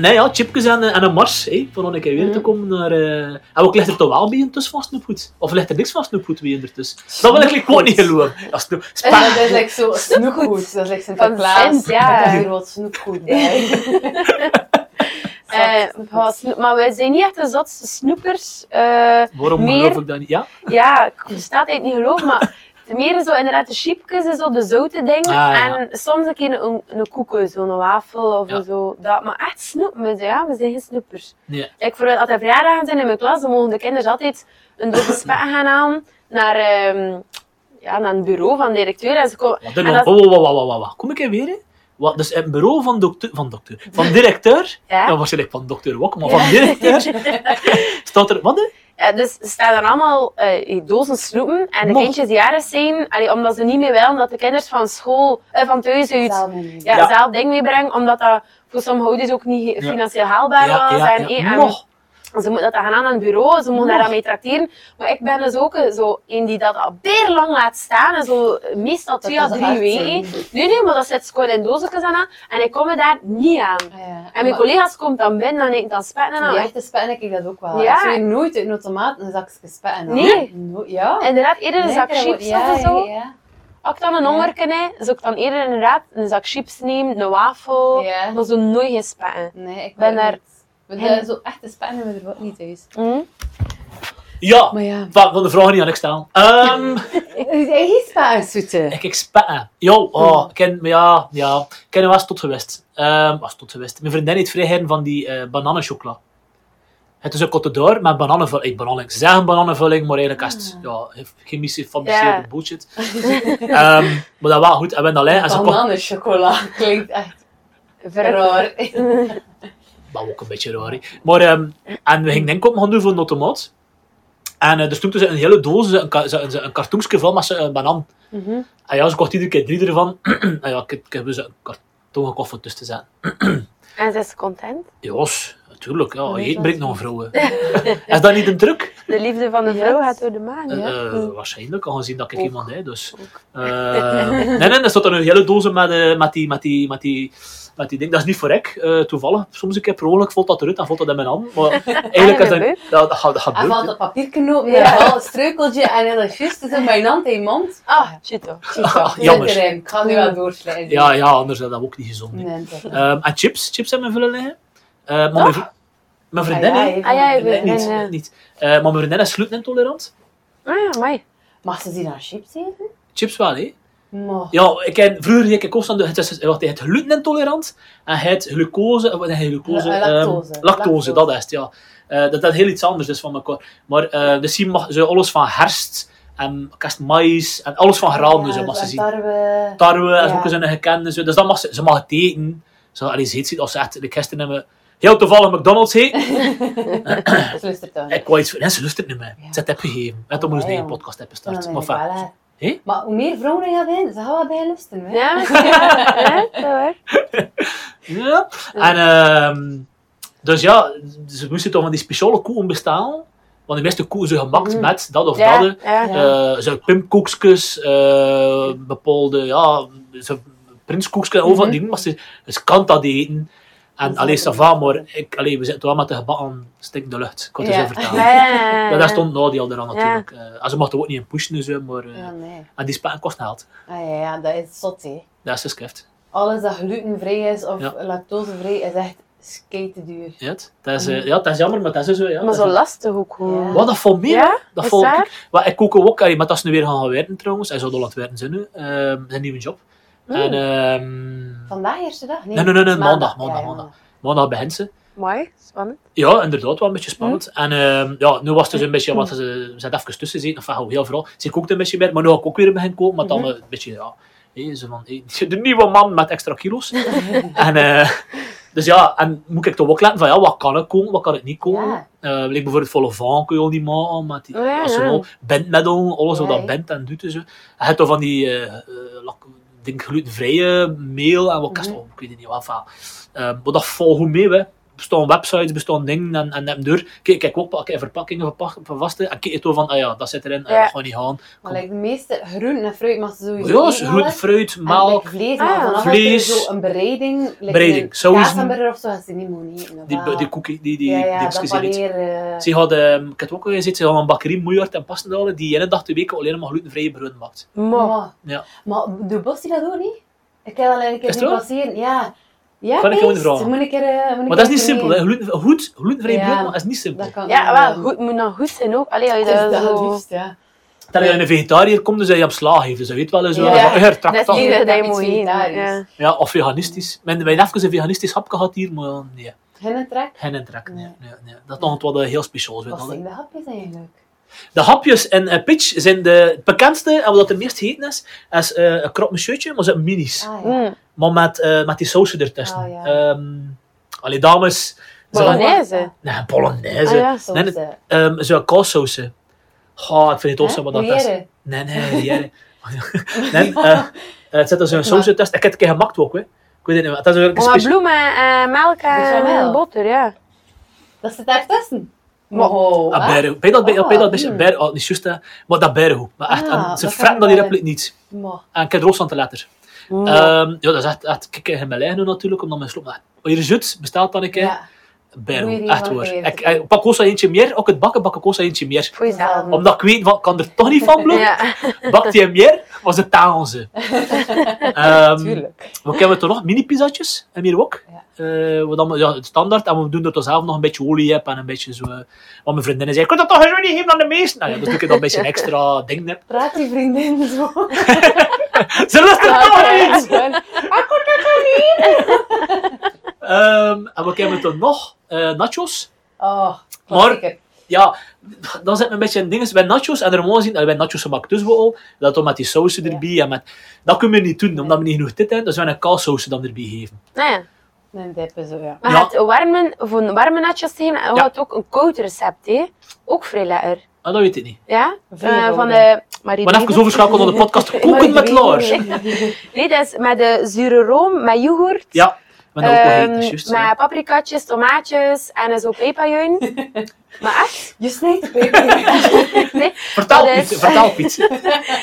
Nee, ja, chipjes en, en een mars, hè, voor nog een keer weer Mhm. te komen naar... eh, En ook ligt er toch wel bij een tussen van snoepgoed? Of ligt er niks van snoepgoed bij ertussen? Dat wil ik eigenlijk ook niet geloven. Ja, snoep... Ja, Eh, spa- dat is like zo snoepgoed. Dat is Van like Sinterklaas. Sint, ja. Dat is hier wat snoepgoed bij. Eh, ja, snoep- maar wij zijn niet echt de zotste snoepers. Eh, Waarom meer- geloof ik dat niet? Ja? ja, ik bestaat het niet geloven, maar het meer zo inderdaad de chiepjes en zo, de zoute dingen. Ah, ja. En soms een keer een, een koeken, zo'n wafel of Ja. zo. Dat, maar echt snoepen, ja, we zijn geen snoepers. Nee. Ik voor altijd verjaardagen zijn in mijn klas, dan mogen de kinderen altijd een doosje spek gaan halen naar, ehm, ja, naar een bureau van de directeur. En ze komen, Wat dan En nog? dat- Wow, wow, wow, wow, wow, wow. Kom ik hier weer, hè? Wat, dus het bureau van dokter... Van dokter... Van directeur... ja. Ja, waarschijnlijk van dokter Wok, maar van directeur... Staat er... Wat, hè? Ja, dus er staan er allemaal eh, die dozen snoepen. En de Mo. kindjes die jarig zijn, allee, omdat ze niet meer willen dat de kinderen van school, eh, van thuis uit, Zelf niet. ja, Ja. zelf ding meebrengen. Omdat dat voor sommige ouders ook niet Ja. financieel haalbaar was. en, eh, en Nog. ze moeten dat dan gaan aan aan het bureau, ze mogen daar aan mee tracteren. Maar ik ben dus ook eh, zo een die dat al beer lang laat staan. En zo eh, meestal Dat twee à is drie echt weken. zo. Nee, nee, maar dat zit ze gewoon in doosjes aan. En ik kom me daar niet aan. Ja. En mijn collega's komen dan binnen en ik dan spijt en Die dan echte spetten, ik dat ook wel. Ja. Ik zou je nooit uit een tomaat een zakje spetten halen. Nee. No- ja. Inderdaad, eerder een Nee, zak dat wordt- chips of zo. Ja, Als ik dan een Ja. hongerken heb, zou ik dan eerder inderdaad een zak chips nemen, een wafel. ja. ja. Maar zo nooit geen spatten. Nee, ik Oh. ben ben daar- daar... We zijn zo echte spetten hebben we er ook niet thuis. Ja. Maar ja. Van, van de vragen niet aan ik stellen. Ehm... Is jij geen spetten zoeten? Ik, ik spatten. Jo, oh, ik ken, maar ja, ja. Ik ken was tot geweest. Ehm was tot geweest. Mijn vriendin heeft vrijheden van die eh bananenchocola. Het is een cote d'or met bananenvulling. Eh, bananen, ze zeggen bananenvulling, maar eigenlijk is het ja, chemisch gefabriceerde Ja. bullshit. Ehm, maar dat was goed. En we hadden alleen, en ze kocht, Bananenchocola klinkt echt raar. dat was ook een beetje raar. hè. Maar, ehm, en we gingen denk ik op gaan doen voor een automaat. En eh, er stond dus een hele doos, ze- een, ka- ze- ze- een kartoensje vol met ze- een banan. Mhm. En ja, ze kocht iedere keer drie ervan. en ja, ik, ik heb dus een karton gekocht voor tussen te zetten. En ze is content. Jos, natuurlijk. Ja, Dat je is eet wel brengt zo. nog vrouwen. is dat niet een druk? De liefde van de Ja. vrouw gaat door de maan. ja. Hm. Eh, eh, waarschijnlijk, aangezien dat ik Ook. iemand heb. Dus. Eh, nee, nee, er staat er een hele doos met, eh, met, die, met, die, met, die, met die ding. Dat is niet voor ik, eh, toevallig. Soms een keer per ongeluk valt dat eruit en valt dat in mijn hand. Maar eigenlijk is dat, Ah, in de dat, dat, gaat- dat gaat Hij dood, valt hè. op papierknoop, Ja. ja. een streukeltje en hij is juist tussen mijn hand en je mond. Ah, shit hoor. Ah, jammer. Zit erin. Ik ga nu wel doorslijden. Ja, ja, anders is dat ook niet gezond. hè. Nee, dat- Ehm, en chips, chips hebben we vullen liggen. Eh, maar mijn, vri- mijn vriendin, Ah, ja, hè? even. Ah ja, je Nee, bent niet. eh, niet. Eh, maar mijn vriendin is glutenintolerant. Ah ja, mooi. Mag ze die dan chips eten? Chips wel, hè? Mag. Ja, ik ken, vroeger keek ik constant, het is wat, het glutenintolerant en het glucose, eh, wat is het, glucose? Eh, eh, Ehm, lactose. lactose, Lactose. dat is het, ja. Eh, dat dat heel iets anders is van elkaar. Maar eh dus zien mag ze alles van herst en kast maïs en alles van graan, dus, hè, mag ze zien. Tarwe. Tarwe is ja. ook een gekende, zo. dus dat mag ze, ze mag het eten. Ze, allee, ze eet zoiets als ze echt, like, gisteren hebben we heel toevallig McDonald's eten. Dat lust het dan. ik wou iets, nee, ze lust het niet meer. Ja. Oh, Ze het heb gegeven. Net om ons Ja, eigen jong. podcast hebben Dan gestart. ben Maar ik fijn. wel, hè. Hé? Ah, Maar hoe meer vrouwen je gaat in, ze gaan wel bij je lusten. Hè? Ja, misschien wel. Ja, dat hoor. Ja. En, ehm, dus ja, ze moesten toch van die speciale koeien bestellen. Want de meeste koeien zijn gemaakt Mhm. met dat of Ja, dat. ja. Ja. eh zijn pimpkoekjes, eh, bepaalde, ja, ze- prinskoekjes, overal Mhm. die maar ze, ze kan dat eten. En Dat alleen is ook Sava, maar ik, allee, we zitten wel met de gebakken stik de lucht. Ik kan het Ja. je zo vertellen. Ja, ja, ja. Maar daar stond Nadia er aan Ja. natuurlijk. Eh, en ze mochten ook niet in pushen en zo, maar... eh, Ja, nee. En die spaan kost geld. Ah, ja, ja, dat is zot, hè. Dat is dus keft. Alles dat glutenvrij is of Ja. lactosevrij is echt skate duur. Ja, dat is, eh, ja, dat is jammer, maar dat is zo. Ja, Mhm. Maar dat is- zo lastig ook gewoon. Ja. Wat, dat valt mee, Ja? hè? Dat Is valt waar? ik. Maar ik kook ook, allee, maar dat is nu weer gaan gaan werken trouwens. Hij zou al aan het werken zijn nu. Ehm, zijn nieuwe job. Hm. Oh. En ehm Vandaag eerste dag? Nee, Nee, nee, nee, nee, het is maandag, maandag, Ja, ja, maandag. maandag begint ze. Mooi, spannend. Ja, inderdaad, wel een beetje spannend. En ehm, ja, nu was het dus een beetje, want ze ze zat even tussen zitten, of heel vooral. Ze kookt een beetje meer, maar nu ga ik ook weer beginnen koken, maar dan eh, een beetje, ja, hé, zo van, hé, de nieuwe man met extra kilo's. en, eh, dus ja, en moet ik toch ook letten van, ja, wat kan ik koken, wat kan ik niet koken? Ja. Eh, like bijvoorbeeld volle van kun je al niet maken, met die, Oh, ja, als je ja. al bindmiddel, alles wat Ja, dat hè. bindt en doet en zo. En je hebt dan van die, eh, eh, lak- denk glutenvrije meel en wat kast, Mhm. Ehm, oh, ik weet het niet, wat van. Eh, maar dat valt goed mee, hè. bestaan websites, bestaan dingen en, en hebben deur. Kijk, kijk ook pakken verpakkingen verpak, vervasten en kijk je van, ah ja, dat zit erin, ah, Ja. dat gaat niet gaan. Maar like, de meeste groenten en fruit mag ze sowieso Ja, niet groente, fruit, melk, Melk, vlees, Ah, maar vanaf vlees. dat er zo een bereiding, like Bereiding, een sauzen. kaashamburger of zo, gaat ze niet mogen eten. die, of die wat. cookie, die, die, ja, ja, die dat biscuits niet. wanneer, eh, Ze had, ehm, ik heb het ook al gezien, ze had een bakkerij Moeijert en Passendalen die één dag de week alleen maar glutenvrije brood maakt. Mo. maar- Ja. Maar de bos die dat ook niet? Ik heb dat een keer Is het zien wel? passeren, ja. Ja, Kan ik gewoon meest. vragen? Moet ik er, eh, moet ik Maar er dat is niet even simpel, mee? hè. Gluten, goed, glutenvrij Ja. brood, maar is niet simpel. Dat kan Ja, wel, wel. goed, moet dan goed zijn ook. Allee, als Dat je is dat dat het zo... liefst, ja. Terwijl je een vegetariër komt, dus hij op slaag heeft. Dus hij weet wel eens Ja. wat er Net tractaat. niet dat Ik heb je iets moet heen. Ja. vegetarisch. Ja, of veganistisch. Mijn, mijn even een veganistisch hapje gehad hier, maar nee, Geen een trek. geen intrek. Nee, Nee. nee, nee. Dat is nog wat eh, heel speciaals. Weet Wat je zijn wel. de hapjes eigenlijk? de hapjes in eh, Pitch zijn de bekendste en wat het meest heten is, is eh, een krop monsieurtje, maar ze hebben minis. Ah ja. Mm. Maar met, eh, met die sausen ertussen. Ah, ja. Ehm, allee, dames. ze- Bolognese. Nee, bolognese. Ah, ja. Soms, Nee, nee. eh, Ehm, zo kaassausen. Goh, ik vind het ook zo hè? wat dat is. Leren. Nee, nee, jij. nee, eh, het zit als een sausentest. Ik heb het een keer gemakt ook, hè. Ik weet het niet, maar het is Oh, eigenlijk een Maar speciaal... bloemen, eh, melk en Bechamel. boter, ja. Dat zit daar tussen. Maar- Wow, Ah, hè? bergen. Bij dat, bij, dat- bij dat, bij, Ah, bij- oh, niet juist, hè. maar dat bergen. Maar echt, Ah, en ze dat fretten kan dat hier wel. absoluut niet. Maar- En Ah, ik heb roos aan de letter. Mm. Ehm, ja, dat is echt, echt ik in mijn lijn nu natuurlijk, omdat mijn sloop... Maar hier zit, bestaat dan een keer, Ja, bergen. Goeie Echt idee, hoor. oké. Ik, ik pak koos eentje meer, ook het bakken bak ik koos eentje meer. Voor jezelf. Mm. Omdat ik weet, van, ik kan er toch niet van bloemen. Ja. Bakt hij meer, was het aan ze. Ehm, Tuurlijk. Wat hebben we toch nog? Mini-pizzatjes hebben we hier ook. Ja. Eh, wat dan, ja, het standaard. En we doen er toch zelf nog een beetje olie op en een beetje zo. eh, Want mijn vriendinnen zei: Kun dat toch eens niet geven aan de meesten? Nou ja, dat doe ik dan een beetje een extra ding. Hè. praat die vriendin zo. Ze luisteren Nou toch niet! Ja, Ehm, en wat hebben we toch nog? Eh, nachos. Oh, Maar- klassieker. Ja, dan zit me een beetje een ding bij nachos. En er mogen zien, eh, bij nachos gemaakt dus we al. Dat dan met die sausen Ja. erbij. En met, dat kunnen we niet doen, omdat we niet genoeg dit hebben. Dus we gaan een kaassaus dan erbij geven. Nou ja. Een dippe zo, ja. Maar Ja. het warmen, voor een warme natjes te geven, en Ja. had ook een koud recept, hè. Ook vrij lekker. Maar Ah, dat weet ik niet. Ja? Vrij Eh, van lekker. de Marie Maar even overschakelen naar de podcast Koken met Lars. Nee, dat is met de zure room, met yoghurt. Ja, maar dat ook nog ehm, eten, juist. met ja. paprikatjes, tomaatjes en zo peperjuin. maar echt, Je snijdt de peper. nee, Vertel, dat is- Piet, vertel, Piet.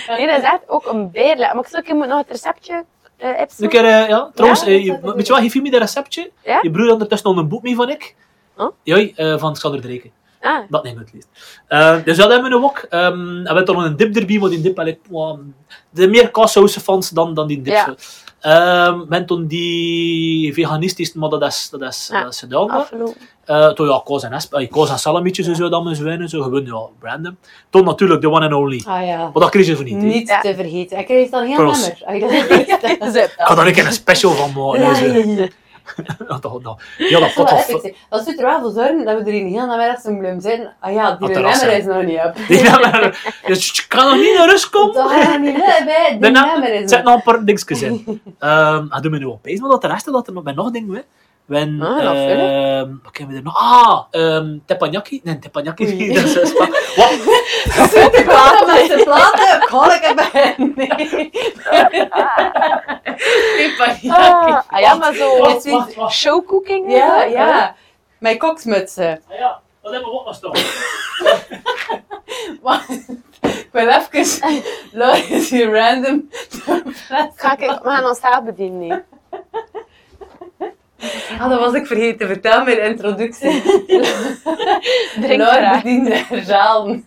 nee, dat is echt ook een beerle. Maar ik zou ik moet nog het receptje eh Een opzoeken. keer, eh, ja, trouwens, dat eh, je- zou ik weet je doen. wat, geef je me dat receptje? Ja? Je broer had er tussen nog een boek mee van ik. Huh? Ja, eh, van Xander Dreken. Ah, Dat neem ik het liefst. Eh, dus dat hebben we nu ook. Ehm, en we hebben toch nog een dip erbij, maar die dip... Allee, wow, er zijn meer kassausen fans dan, dan die dip. Ja. zo. Ehm, we hebben toen die veganistisch, maar dat is, dat is, Ja. dat is gedaan. hoor. afgelopen. Eh, toen ja, kaas en, asp- eh, kaas en salamietjes en zo, dat we zo winnen. Zo gewoon, ja, random. Toen natuurlijk, the one and only. Ah ja. Maar dat kreeg je voor niet. hè. Niet Ja. te vergeten. Ik krijg dan heel Proost. jammer. Als je dat Ik ga daar een keer een special van maken. Ja, hè, zo. ja, ja. Ja, dat, dat, ja, dat Zo gaat epic toch- zijn. Dat doet er wel voor zorgen dat we er hier een hele namiddag zo'n bloem zijn. Ah ja, die Op terras, remmer hè. is nog niet op. Die nummer- Dus je kan nog niet naar rust komen. Dat gaat niet lukken, hè. die Daarna- remmer is Er nog zitten nog een paar dingetjes in. Ehm dat doen we nu op eens, maar dat de rest dat er nog, bij nog dingen hè. Wen, Ah, dat vind ik. ehm, wat kennen we er nog? Ah, ehm teppanyaki. Nee, teppanyaki is niet. Dat is, eh, spa- Wat? Zoete platen met de platen, kon ik erbij. Nee. Ah, ah ja, maar zo Wacht, wacht, wacht. showcooking. Ja, ja. Mijn koksmutsen. Ah Ja, dat hebben we ook nog staan. Maar- Ik wil even... Laura is hier random. Ga ik, we gaan ons taal bedienen. nee. Ah, dat was ik vergeten te vertellen bij de introductie. Drink Laura maar. bediende haar zalen.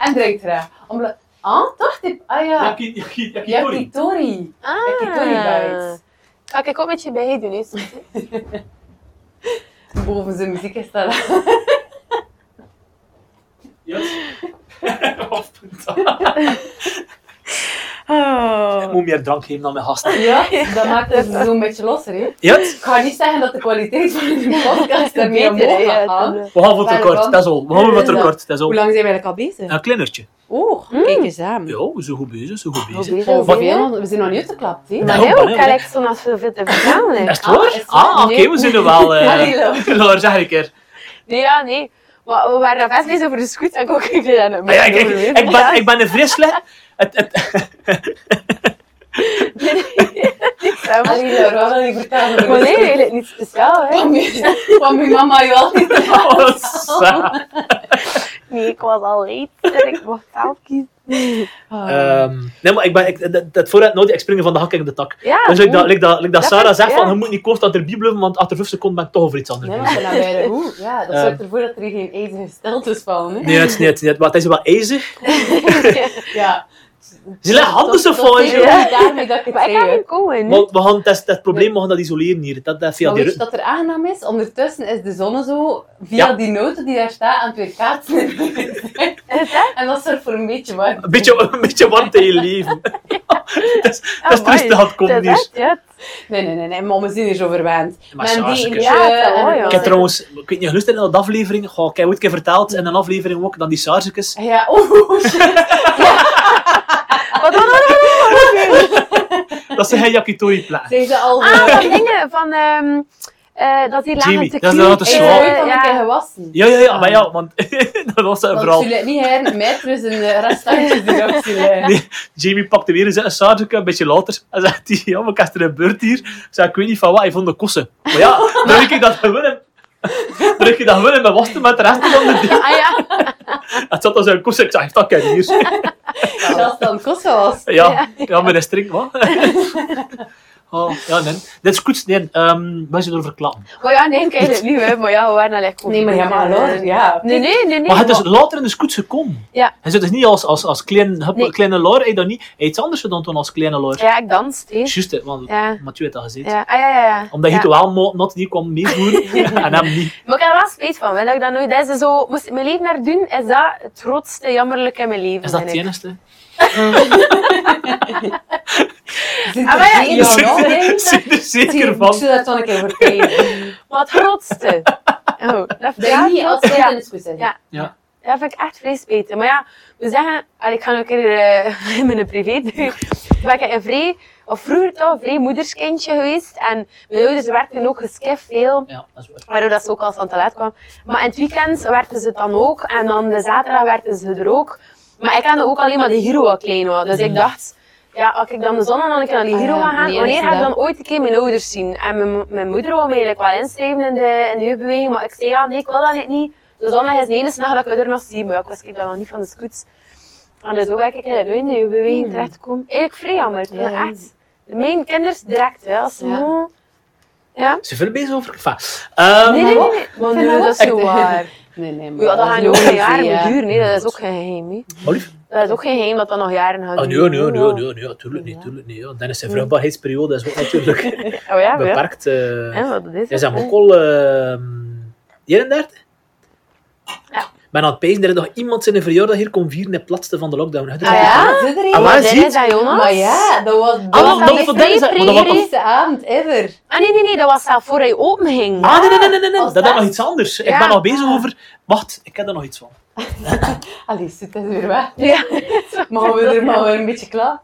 En drinkt graag. Omdat... Ah, toch? Die- Ah ja. Yaki- yaki- yakitori. Yakitori. Yakitori Ah. bites. Ga ik ook met je bij doen, hè? Boven zijn muziek is dat. Yes. Ik Oh. moet meer drank geven dan mijn gasten. Ja, dat maakt het zo'n beetje losser, hè? Yes? Ik ga niet zeggen dat de kwaliteit van de podcast ermee Beter, Ah. ja, omhoog gaat gaan. dat- We gaan voor het Waarom? record, dat is al. We gaan voor het Ja. record, dat is Hoe al. lang zijn we eigenlijk al bezig? Hmm. Een kleinertje. Oeh, kijk eens aan. Ja, zo goed bezig, zo goed Hoe bezig. bezig Oh, zijn we, we? zijn nog, we zijn nog niet uitgeklapt, hè? Nee. Maar Nou, heel maar, hè. correct, zo als veel te vertellen. Echt Ah, hoor? is het- Ah, oké, nee. we zullen wel. Allee, eh Laura. Laura, zeg een keer. Nee, ja, nee. Maar we waren best bezig over de scoot en ook ik deed dat nog Ah, ja, ik, ik, ik ben, ik ben een vreselijk. Het, het, ben... stemmen. Allee, Laura, dat ik vertelde. Maar nee, eigenlijk niet speciaal, hè? Wat mijn mama je altijd Oh, sa. Nee, ik was al late en ik mocht zelf kiezen. Ah. Ehm, nee, maar ik ben, ik, dat, dat vooruit nodig, ik spring van de hak in de tak. Ja, dus ik Ah, goed. dat, like dat, like dat Dat Sarah is- zegt, van, ja. je moet niet constant erbij blijven, want achter vijf seconden ben ik toch over iets anders Nee, bezig. maar dat bij de hoe. Ja, dat Eh. zorgt ervoor dat er geen eten gesteld is van. Hè? Nee, het is niet, het is niet. Maar het is wel ijzig. Ja. Ze leggen handen zo vol, Dat joh. is daarmee dat ik het Maar ik zei. ga hè. niet komen. Maar we gaan, dat, is- dat probleem we gaan dat isoleren hier. Dat, dat via Maar die weet je ru- dat er aangenaam is? Ondertussen is de zon zo, via Ja. die noten die daar staan, aan twee kaarten. Is dat? en dat zorgt voor een beetje warm. een beetje, een beetje warmte in je leven. dat is, dat is Amai. triest dat het komt Dat Oh, is hier. echt, ja. Nee, nee, nee, nee, maar we zijn hier zo verwaand. Massages. ja, dat hoor je. Ik heb trouwens, ik weet niet, geluisterd in dat aflevering. Goh, ik heb ooit een keer verteld in een aflevering ook, dan die sarsekes. Ja, oeh, shit. Wat dan ook? Dat zijn geen yakitori plaat. Zijn ze al... eh, Ah, van dingen, van... ehm, eh, dat die lagen Jamie, te dat is cute. dat te Ik Eh, heb zwaar. ooit al een keer ja. gewassen. Ja, ja, Ah. ja, maar ja, want dat was een Want verhaal. jullie niet her, mij dus een eh, restantje die nog zullen. Nee, Jamie pakte weer eens een sarjeke, een beetje later. En zegt hij, ja, maar ik heb er een beurt hier. Ik zei, ik weet niet van wat, hij vond de kossen. Maar ja, dan heb ik dat gewonnen. Dan heb ik dat gewonnen, maar was het met de rest van de ding. Ah ja, Het zat als een kossen, ik zei, heeft dat keer hier. Dat het dan kost was. Ja, ja, maar dat is drink, wat? Oh, ja, nee. Dit is goed, nee. ehm wij zullen erover klappen. maar ja, nee, ik ken het niet, hè. Maar ja, we waren al echt eh. Nee, maar ja, maar hoor. Ja. Nee, nee, nee, nee. Maar het is later in de scoot gekomen. Ja. Hij zit dus niet als, als, als klein, hup- Nee. kleine lor, hij dat niet. Hij iets anders gedaan toen als kleine lor. Ja, ik danst, hè. Juist, hè, want Ja. Mathieu heeft dat gezien. Ja, ah, ja, ja, ja. Omdat ja. hij het wel mo- not niet kwam meevoeren en hem niet. Maar ik heb er wel spijt van, hè, dat ik dat nooit... Dat is zo... Moest ik mijn leven naar doen, is dat het grootste jammerlijke in mijn leven, Is dat vind het ik. enigste? Zit Ah, maar ja, geen ik- jou nog Zit in? er- Zit er zeker Ik van. zal dat wel een keer vertellen. Maar het grootste. Oh, dat Dat vertelt niet wel- als we ja. in de spoed zijn. Ja. Ja. Dat vind ik echt vrij spijtig. Maar ja, we zeggen, allee, ik ga nog een keer eh, in mijn privé doen. ben ik een vrij, of vroeger toch, een vrij moederskindje geweest. En mijn ouders werkten ook geskift veel. Ja, dat is waar. Waardoor dat ze ook al aan te laat kwam. Maar in het weekend werkten ze het dan ook. En dan de zaterdag werkten ze er ook. Maar ik kende ook alleen maar de Hero wat klein was. Dus ik dacht, ja, als ik dan de zon en dan een keer naar die Mhm. Ah Hero ja, ga gaan, nee, wanneer ga ik dat- dan ooit een keer mijn ouders zien? En mijn, mijn moeder wou me eigenlijk wel inschrijven in de, in de jeugdbeweging. Maar ik zei, ja, nee, ik wil dat eigenlijk niet. Dus dan is de ene nacht dat ik er nog zie. Maar ja, ik was kijk, dan nog niet van de scoots. En dus zo ben ik eigenlijk nooit in de jeugdbeweging Hmm. terechtgekomen. Eigenlijk vrij jammer. Ik vind Ja. Echt. Mijn kinders direct, hè. Als ze Ja. mogen. Ja. Is er veel bezig over? Enfin, ehm, Nee, nee, nee. nee. Ik Maar vind nee, Oh, dat dat is ook zo echt- waar. Nee, nee, maar Ja, dat gaan is nog logisch, jaren hè, moet ja. duren. Nee, dat is ook geen geheim. hè. Olief? Dat is ook geen geheim dat dat nog jaren gaat Oh, nee, duren. nee, nee, nee, nee, nee, tuurlijk Ja. niet, tuurlijk niet. ja. Dan is zijn vruchtbaarheidsperiode is ook natuurlijk Oh ja, ja. beperkt. eh. Ja, wat is Jij dat? zijn hè? ook al ehm 31? Ja. Ik ben aan het pezen, er is nog iemand zijn verjaardag hier kon vieren in het platste van de lockdown. Ah ja? Zit er Ah, iemand? waar Wat zie je is dat, Jonas? Maar ja, dat was dat Ah, was wel, de dat voor dat is dat- maar dat was- eerste avond ever. Ah, nee, nee, nee, dat was zelf voor hij open ging. Ah, nee, nee, nee, nee, nee, als dat is dat- nog iets anders. Ik Ja. ben nog bezig over... Wacht, ik heb er nog iets van. Allee, zit dat weer weg. Ja. Maar we er maar weer een beetje klaar.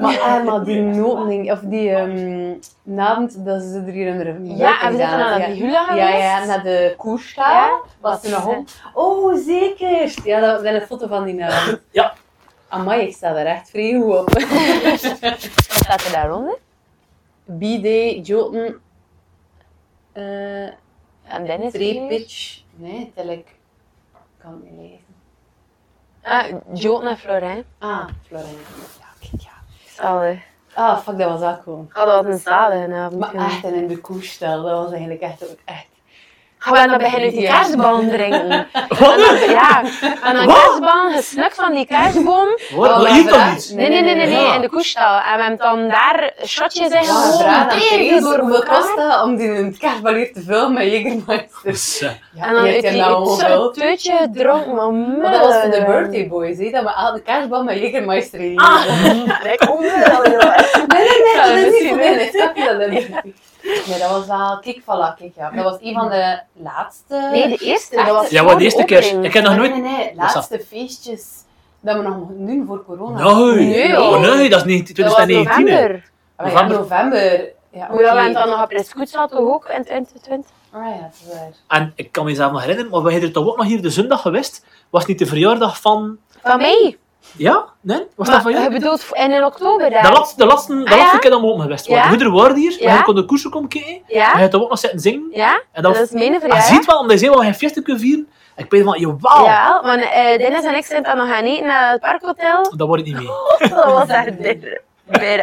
Maar, ah, maar die notening, of die ehm avond, dat ze er hier onder een Ja, en we zitten aan de Hula Ja, geweest. ja, naar de koers gaan. Ja. Was er nog om? Oh, zeker! Ja, dat dat is een foto van die avond. Ja. Amai, ik sta daar echt vrij goed op. Wat staat er daaronder? B-Day, Joten, eh En Dennis? hier. Trepitch. Nee, telk. Ik kan het niet lezen. Ah, Joten en Florijn. Ah, Florijn. Ja, kijk, ja. Zalig. Ah, fuck, dat was ook gewoon. Ah, dat was een zalige avond. Maar ah, ja. echt, en in de koestel, dat was eigenlijk echt ook echt. Gaan we dan beginnen die Ja. kaarsbaan drinken? Wat? Ja, en een Wat? kaarsbaan gesnukt van die kaarsboom. Wat? Oh, Wat hier maar toch vraag- niet? Nee, nee, nee, nee, nee, Ja. in de koestal. En we hebben dan daar shotjes in Ja, gewoon vraag aan tegen Therese, door hoeveel elkaar. kost dat om die in het kerstbalier te vullen met Jägermeister? Dus, eh, Ja, En dan die heb heeft je hem nou iets zo'n gevuld. teutje gedronken, maar mulle. Maar dat was voor de birthday boys, hè, dat we al de kerstbal met Jägermeister gingen. Ah, ik kom wel. nee, nee, nee, Ja, dat is niet misschien wel. voor mij, nee, snap je dat is niet. Nee, dat was wel, kijk, voilà, kijk, ja. Dat was een van de laatste... Nee, de eerste, dat was Ja, voor wat de eerste keer. opening. Ik heb nog nee, nooit... nee, nee, laatste feestjes dat we nog mochten doen voor corona. Nee, Oh, Nee, nee, joh. Nou, oh, nee, dat is niet Dat was 2019. hè. november. Ah, ja, november. november. Hoe Ja, dat we oké. hem dan nog op de scoots hadden ook in 2020. Ah ja, dat is waar. En ik kan me zelf nog herinneren, maar we hebben er toch ook nog hier de zondag geweest. Was niet de verjaardag van... Van mij? Ja? Nee? Was dat Maar van je jou? bedoelt v- en in oktober daar? De laatste, de laatste, de Ah, ja? laatste keer dat we open geweest waren. Ja? Goederen worden hier, maar Ja? je kon de koersen komen kijken. En Ja? je toch ook nog zitten zingen. Ja? En dan, Dat is mijn je verjaardag. Ah, ziet wel, omdat je zei wel geen feesten kunnen vieren. En ik weet van, jawel, Ja, want eh, Dennis en ik zijn dan nog gaan eten naar het parkhotel. dat wordt het niet mee. Dat was echt bitter. Bitter.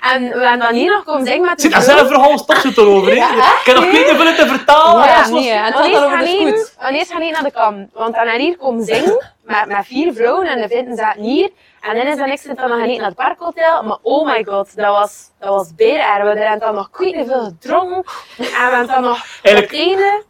En we hebben dan hier nog komen zingen met de Zit daar groep. zelf verhaal stok erover, hè? Ik heb nog niet veel te vertalen. Ja, Dat ja is wel- nee, hè. en het gaat Wanneer dan gaan over de scoot. gaan niet naar de kam. Want dan gaan hier komen zingen met, met vier vrouwen en de vrienden zaten hier. En Dennis en ik zitten dan nog niet naar het parkhotel. Maar oh my god, dat was, dat was beter. We hebben dan nog kwijt veel gedronken. En we hebben dan nog op het Eigenlijk, ene...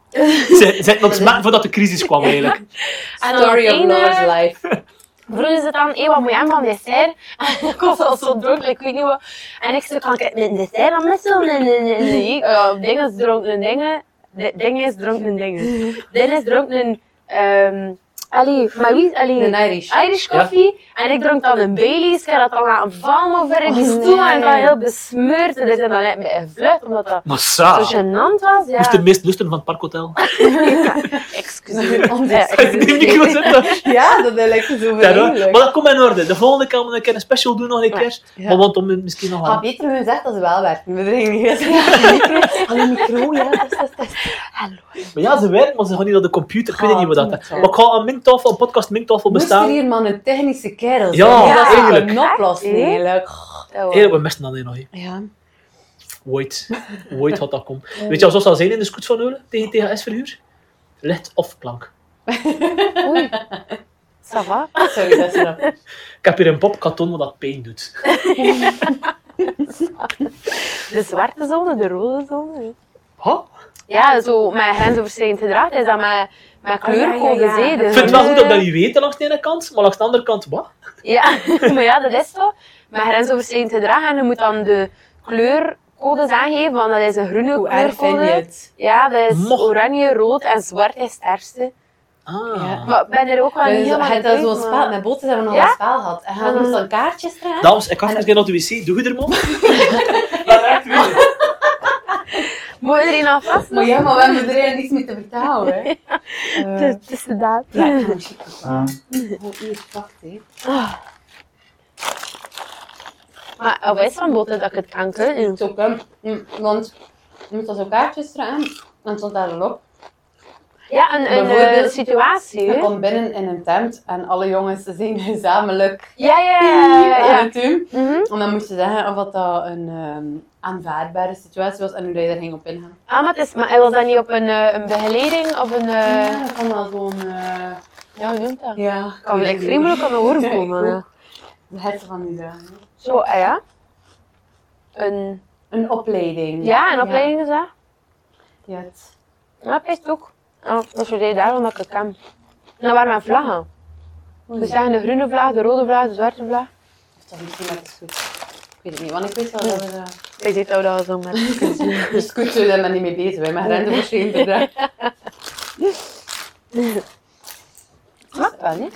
ze zijn nog smaken voordat de crisis kwam, eigenlijk. En dan Story op het of ene- Laura's life. vroegen ze dan, hé, wat moet je hebben van dessert? En ik was al zo dronk, ik weet niet wat. En ik zei, kan ik mijn dessert dan missen? Nee, nee, nee, nee. Eh, Dingen is dronken dingen. De- Dingen is dronken dingen. Dingen is dronken... ehm allee, maar wie is... Allee, Een Irish. Irish coffee. En ik dronk dan een Bailey's. Ik had dat dan laten vallen over in die Oh, stoel. nee. En dan heel besmeurd. En dit en dan net mij gevlucht, omdat dat Maar sa, zo gênant was. Ah. moest de Ja. meest lusten van het parkhotel. Excuseer. Om Ja, te- Die micro zitten. Ja, dat lijkt zo Terror. Maar verheerlijk. dat komt in orde. De volgende keer moet ik een special doen, nog een keer. Ja. Maar want om misschien nog Ah, wel. beter me zegt dat ze wel werken. We dringen niet. Ja, Aan de micro, ja. Dat is, dat is. Maar ja, ze werken, maar ze gaan niet op de computer. Ik weet Ah, niet wat dat dat is. moet Maar ik ga aan Minktafel, podcast Minktafel Moest er bestaan. hier man een technische kerel Ja, zijn? dat is eigenlijk. een oplossing Nee. eigenlijk. Oh, Heel, we misten dan hier nog. hè. Ja. Ooit. Ooit had dat komen. Weet je, als dat zou zijn in de scoot van Eulen, tegen, tegen S-verhuur? Licht of plank. Oei. Ça va? Sorry, dat is erop. Ik heb hier een popkarton wat dat pijn doet. De zwarte zone, de rode zone. Ha? Ja, zo met grensoverschrijdend gedrag is dat met, met kleurcodes. Ah, ja, ja. hè. Dus Ik vind het wel goed eh, dat we dat niet weten langs de ene kant, maar langs de andere kant, wat? Ja, maar ja, dat is zo. Met grensoverschrijdend gedrag en je moet dan de kleurcodes aangeven, want dat is een groene Hoe erg vind kleurcode. je het? Ja, dat is Mocht. oranje, rood en zwart is het ergste. Ah. Ja. Maar ik ben er ook wel Dus niet je helemaal hebt uit, dat zo'n maar- spel, met boten hebben we nog Ja? een spel gehad. En gaan we Mhm. ons dan kaartjes trekken? Dames, ik ga even naar de wc. Doe je er, man? Dat echt weer. Moet je erin alvast? Maar ja, maar we hebben er niets mee te vertalen. Hè. Het Eh, is- Het is de daad. ja, ik ga een chipje pakken. Oh, hier, wacht hè. Ah. Maar wat is van boter dat ik het kan kunnen? Het is ook, hè, mm, want je moet dat zo kaartjes trekken. En het stond daar een lok. Ja, een, een Bijvoorbeeld- eh, situatie. Je hè? komt binnen in een tent en alle jongens zijn gezamenlijk Ja, ja, ja. ja, aan ja. het doen. Mhm. En dan moest je zeggen of dat dat een ehm, aanvaardbare situatie was en hoe je daar ging op ingaan. Ah, maar, het is, maar hij was dan niet op een, eh, een begeleiding of een... eh, Ja, dat kan wel zo'n... eh, Ja, hoe noemt dat? ja. Ik kan ik vrij moeilijk aan mijn eh. Ja, horen ik komen. ook. hè. De het van die dagen. Zo, ah ja. Een, Een opleiding. ja, een opleiding is dat. Ja, het- Ja, best ook. Ja, Ah, dat is deed daarom dat ik het kan. En dat waren mijn vlaggen. We zagen de groene vlag, de rode vlag, de zwarte vlag. Of dat misschien met de scoot. Ik weet het niet, want ik weet wel dat we... dat- Ik deed dat we dat zo met De scoot, we zijn daar niet mee bezig, hè, maar rente voor geen bedrag. Smaakt wel, hè?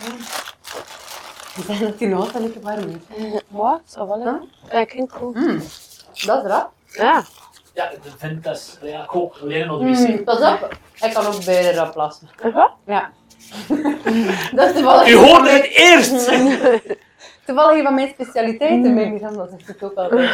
Ik zeg dat die nog en ik heb warm. hè. Mooi, zo wel, hè? Ja, ik vind het cool. Mm, dat is rap. Ja. Ja, ik vind dat... is- Ja, ik ga ook leren naar de Mm, Hmm. wc. pas op, ik kan ook beide rap plassen. Echt waar? Ja. dat is toevallig... U hoorde het eerst! Mm. Toevallig een van mijn specialiteiten, ben ik dan, dat is het ook altijd.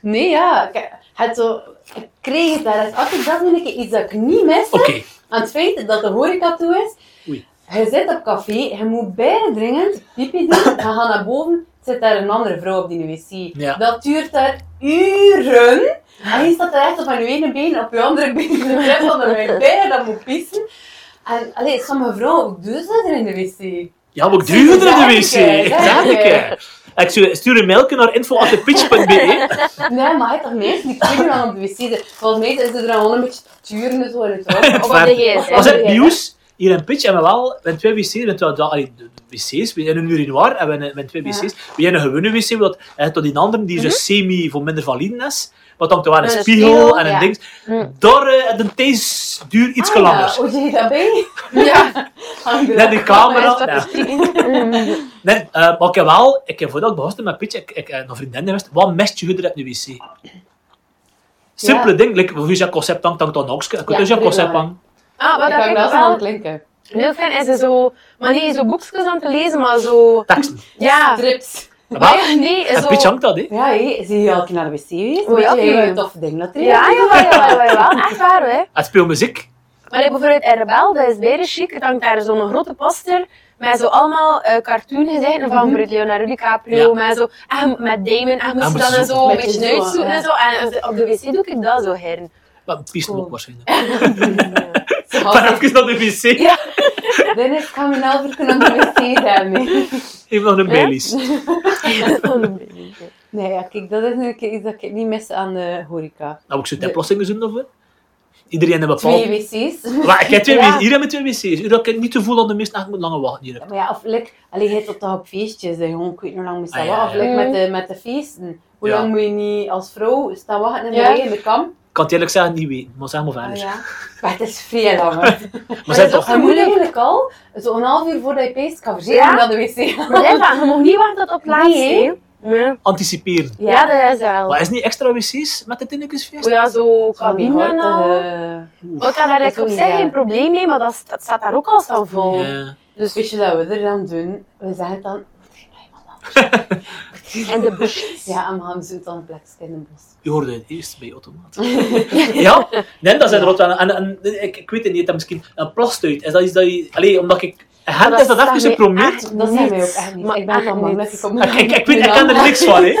Nee, ja. Ik, het zo, ik kreeg het daar. Als ik dat nu een keer iets dat ik niet mis, Oké. aan het feit dat de horeca toe is. Oei. Je zit op café, je moet bijna dringend pipi doen, je gaat naar boven, zit daar een andere vrouw op die wc. Ja. Dat duurt daar uren. En je staat daar echt op je ene been, op je andere been, de trip van de bijna dat moet pissen. En allee, sommige vrouwen doen ze er in de wc. Ja, maar ik duw er de wc. Zaken, zaken. Zaken. Ik stuur- stuur een mailje naar info.pitch.be. Nee, maar hij toch mensen die kinderen dan op de wc zitten. Volgens mij is het er gewoon een beetje turen zo in het hoofd. Of op de gsm. Was het nieuws? Hier in Pitch hebben we wel met twee wc's, met twee, allee, de- de wc's, we hebben een urinoir en we hebben met twee Ja. wc's. We hebben een gewone wc, want eh, tot die andere die is een semi voor minder valide is. Maar dan wel een Met een spiegel spiegel, en een ja. ding. Hm. Daar eh, de thees duurt iets langer. Ah, Hoe zie je dat bij? Ja. Hang er Net af. de camera. ja. ja. Nee, eh, maar ik heb wel, ik heb voordat ik begon met Pitch, ik, ik eh, een vriendin geweest, wat mest je er op de wc? Simpele Ja. ding, like, hoe is je concept hangt, hangt dan een hoksje. Ik Ja, kan dus je prima. concept hangen. Ah, wat Ik dat kan ik wel wel... aan het linken. leuk vind, is ze zo... Maar nee, zo boekjes aan te lezen, maar zo... Teksten. Ja. Trips. Maar Wat? ja, nee, En zo... Piet hangt dat, hè? Ja, hé, zie je al naar de wc geweest? Oei, Weet je, oké. hey, wat een tof ding dat er Ja, is. jawel, jawel, jawel, jawel. Echt waar, hè. Het speelt muziek. Maar nee, bijvoorbeeld in Rebel, dat is bijna chic. Het hangt daar zo'n grote poster met zo allemaal eh cartoongezichten van Mhm. bijvoorbeeld Leonardo DiCaprio, met zo, en met Damon, en moest moet dan je zoeken. en zo een Beetje beetje zo, uitzoeken ja. en zo. En eh, op de wc doe ik dat zo heren. Maar Piet ook waarschijnlijk. Als Maar even naar de wc. Ja. ik- Dennis, ik ga me nou verkennen op de wc daarmee. Even nog een Ja? Baileys. Oh, Nee, ja, kijk, dat is een keer iets dat ik niet mis aan de horeca. Nou, ik zou het oplossingen zoeken of wat? Iedereen een bepaald. Twee wc's. Maar ik heb twee Ja. wc's. Hier hebben we twee wc's. Hier heb ik niet te voelen dat de meeste nacht moet langer wachten. Hier. Ja, maar ja, of like, allee, je hebt toch op feestjes, hè, gewoon, ik weet niet hoe lang moet je staan Ah, ja, wachten, of ja. like, met, de, met de feesten. Hoe Ja. lang moet je niet als vrouw staan wachten in de Ja. rij in de kamp? Ik kan het eerlijk zeggen niet weten, maar zeg maar verder. Ah, ja. Maar het is vrij lang, hè. Maar zijn dat is toch... Je moet eigenlijk al zo'n half uur voordat je peest kan verzekeren Ja? dat de wc Maar denk aan, je mag niet wachten tot op het laatste. Nee, hè? hè. Ja. Anticiperen. ja, dat is wel. Maar is het niet extra wc's met het Tinnekesfeest? O ja, zo cabine en al. nou. Maar Ik heb daar eigenlijk op Oeh, zich ja. geen probleem mee, maar dat, dat staat daar ook al staan vol. Ja. Dus Weet je wat we er dan doen? We zeggen dan... En de busjes. Ja, en we gaan zo dan een plekje in het bos. Je hoorde het eerst bij automaat. ja, nee, dat zijn er ook wel. En, en ik, ik weet het niet, dat misschien een plastuit. Is dat iets dat je. Allee, omdat ik. Gent is dat even gepromeerd. Dat zijn wij ook echt niet. ik ben van bang dat ik op Ik, mijn Ah, ik, ik, weet, ik ken er niks van, hè?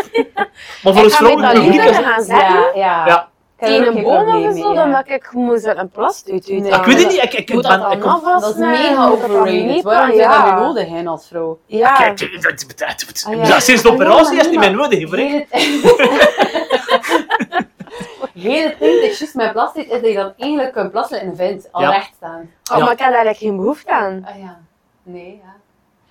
Maar voor Ik het ga met vrouwelijk dat publiek is liederen dat- gaan zeggen. Ja, ja. Ja. Ik heb Tegen er ook een geen boom probleem of mee, zo, ja. dan dat ik moest er een plas uit Nee. doen. Ik weet het Ja, niet, ik, ik, ik Moet dat ben. dan Ik, af? Dat is mega Dat kan overrated. niet, maar Waarom zou je dat ja. nu nodig hebben als vrouw? Kijk, Ja. dat- dat- dat- Ah, ja. dat- sinds de Ah, ja, operatie maar is het niet meer niemand- nodig, hoor, hè. Heel het- Heel het ding dat je juist met plastic is dat je dan eigenlijk kunt plassen in een vent, al Ja. recht staan. Oh, maar ik heb daar eigenlijk geen behoefte aan. Ah ja, nee, ja.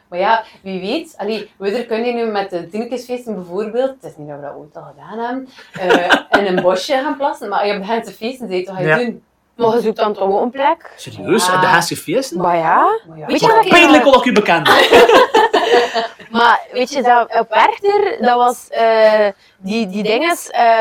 Maar ja, wie weet, allee, we kunnen nu met de Tinnekesfeesten bijvoorbeeld, het is niet dat we dat ooit al gedaan hebben, eh, in een bosje gaan plassen, maar je begint te feesten, weet je, wat ga je Ja. doen? Maar je zoekt dan toch ook een plek? Serieus, Ja. en de Haagse feesten? Maar ja. Maar ja, Weet je Wat wat ik- pijnlijk al dat ik u bekend ben. Maar weet je, dat, op Werchter, dat was eh, die, die dinges, eh,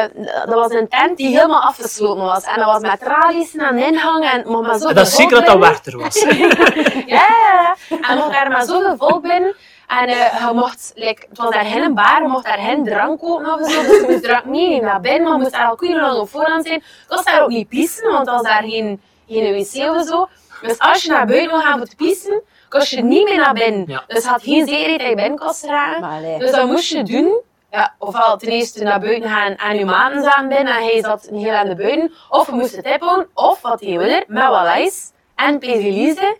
dat was een tent die helemaal afgesloten was. En dat was met tralies en inhang en maar, maar zo En dat is zeker dat dat Werther was. Ja, ja, ja. En mocht daar maar zoveel volk binnen. En eh, je mocht, like, het was daar geen bar, je mocht daar geen drank kopen of zo. Dus je moest drank meenemen naar binnen, maar je moest daar al kuren op voorhand zijn. Ik was daar ook niet pissen, want er was daar geen, geen wc of zo. Dus als je naar buiten wil gaan voor te pissen, kost je niet meer naar binnen. Ja. Dus je had geen zekerheid dat je binnen kost raken. maar allee. Dus dat moest je doen. Ja, ofwel ten eerste naar buiten gaan en je maten samen binnen en hij zat een heel aan de buiten. Of we moesten tippen, of wat hij wil er, met wat ijs en pezelise.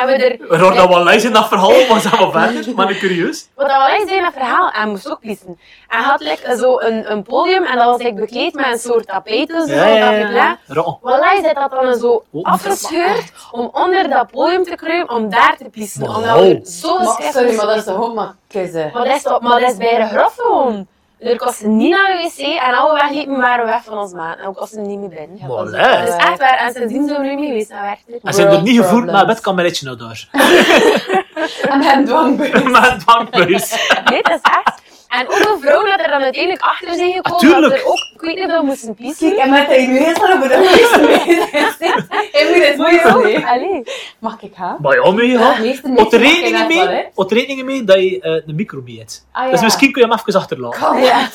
En we er, We hoorden dat wel lijst in dat verhaal, maar zeg maar verder. Maar ik ben curieus. wat dat wel ijs zijn, dat verhaal, en hij moest ook pissen. En hij had like, zo een, een podium en dat was like, bekleed met een soort tapijt, dus zo, tapijt. Rot. Wallahi zit dat dan zo Oh, afgescheurd om onder dat podium te kruipen om daar te pissen. Wow. Omdat we er zo Maar, geschikt sorry, maar dat is toch ook maar kiezen. Maar dat is, toch- maar dat is bij de grof gewoon. Er kosten niet naar de wc en alle wegliepen waren weg van ons maat. En we kosten niet meer binnen. Ja, Maar dat is- hè. Dat is echt waar. En sindsdien zijn we nu mee geweest naar Werchter. En ze hebben er World niet gevoerd, problems. maar bed kan mijn ritje naar door. En hem dwangbeurt. Mijn dwangbuis. Dit is echt. En ook de vrouwen dat er dan uiteindelijk achter zijn gekomen. Ah, tuurlijk. Dat er ook, ik weet niet of we moesten Kijk, pissen. en met hij nu is dat moet dat niet mee. Hij moet het Vrouwen, moeilijk Allee. Mag ik gaan? Maar ja, mee gehad. Meeste Op de mensen rekening pakken dat wel, mee, hè. op de rekening mee dat je eh, een micro mee hebt. Ah, ja. Dus misschien kun je hem even achterlaten. Kan ja.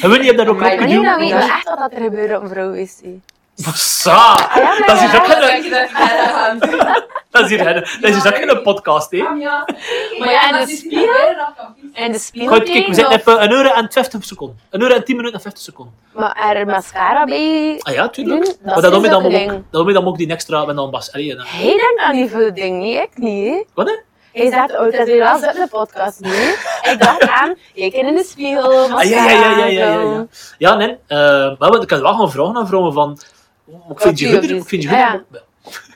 En Winnie heeft daar ook Maar op Maar nu geduwd. dan weten we echt wat dat er gebeurde op een vrouwenwc. Sa! Ah, ja, maar Dat is hier ja, ook dat geen- dat is hier geen- dat is hier ook geen podcast, hè. Maar ja, en de spieren? En de spieren Goed, kijk, we zitten tegen, even een uur en 50 seconden. Een uur en 10 minuten en 50 seconden. of- Maar er mascara bij... Ah ja, tuurlijk. Doen, dat maar dat is doen we dan ook ook, een ding. dat doen we dan ook die extra met de ambassadeur. Allee, eh, Hij denkt aan die veel dingen, niet ik niet. hè. Wat hè? Hij zegt, oh, dat is weer laatst op de podcast nu. Ik dacht aan, je kijkt in de spiegel, Ah, ja, ja, ja, ja, ja, ja. mascara, Ja, zo. ja nee. eh, maar we- ik kan wel gaan vragen aan vrouwen van... oh, Ik vind je tuurlijk, goed, ik dus- vind je ja, goed. maar-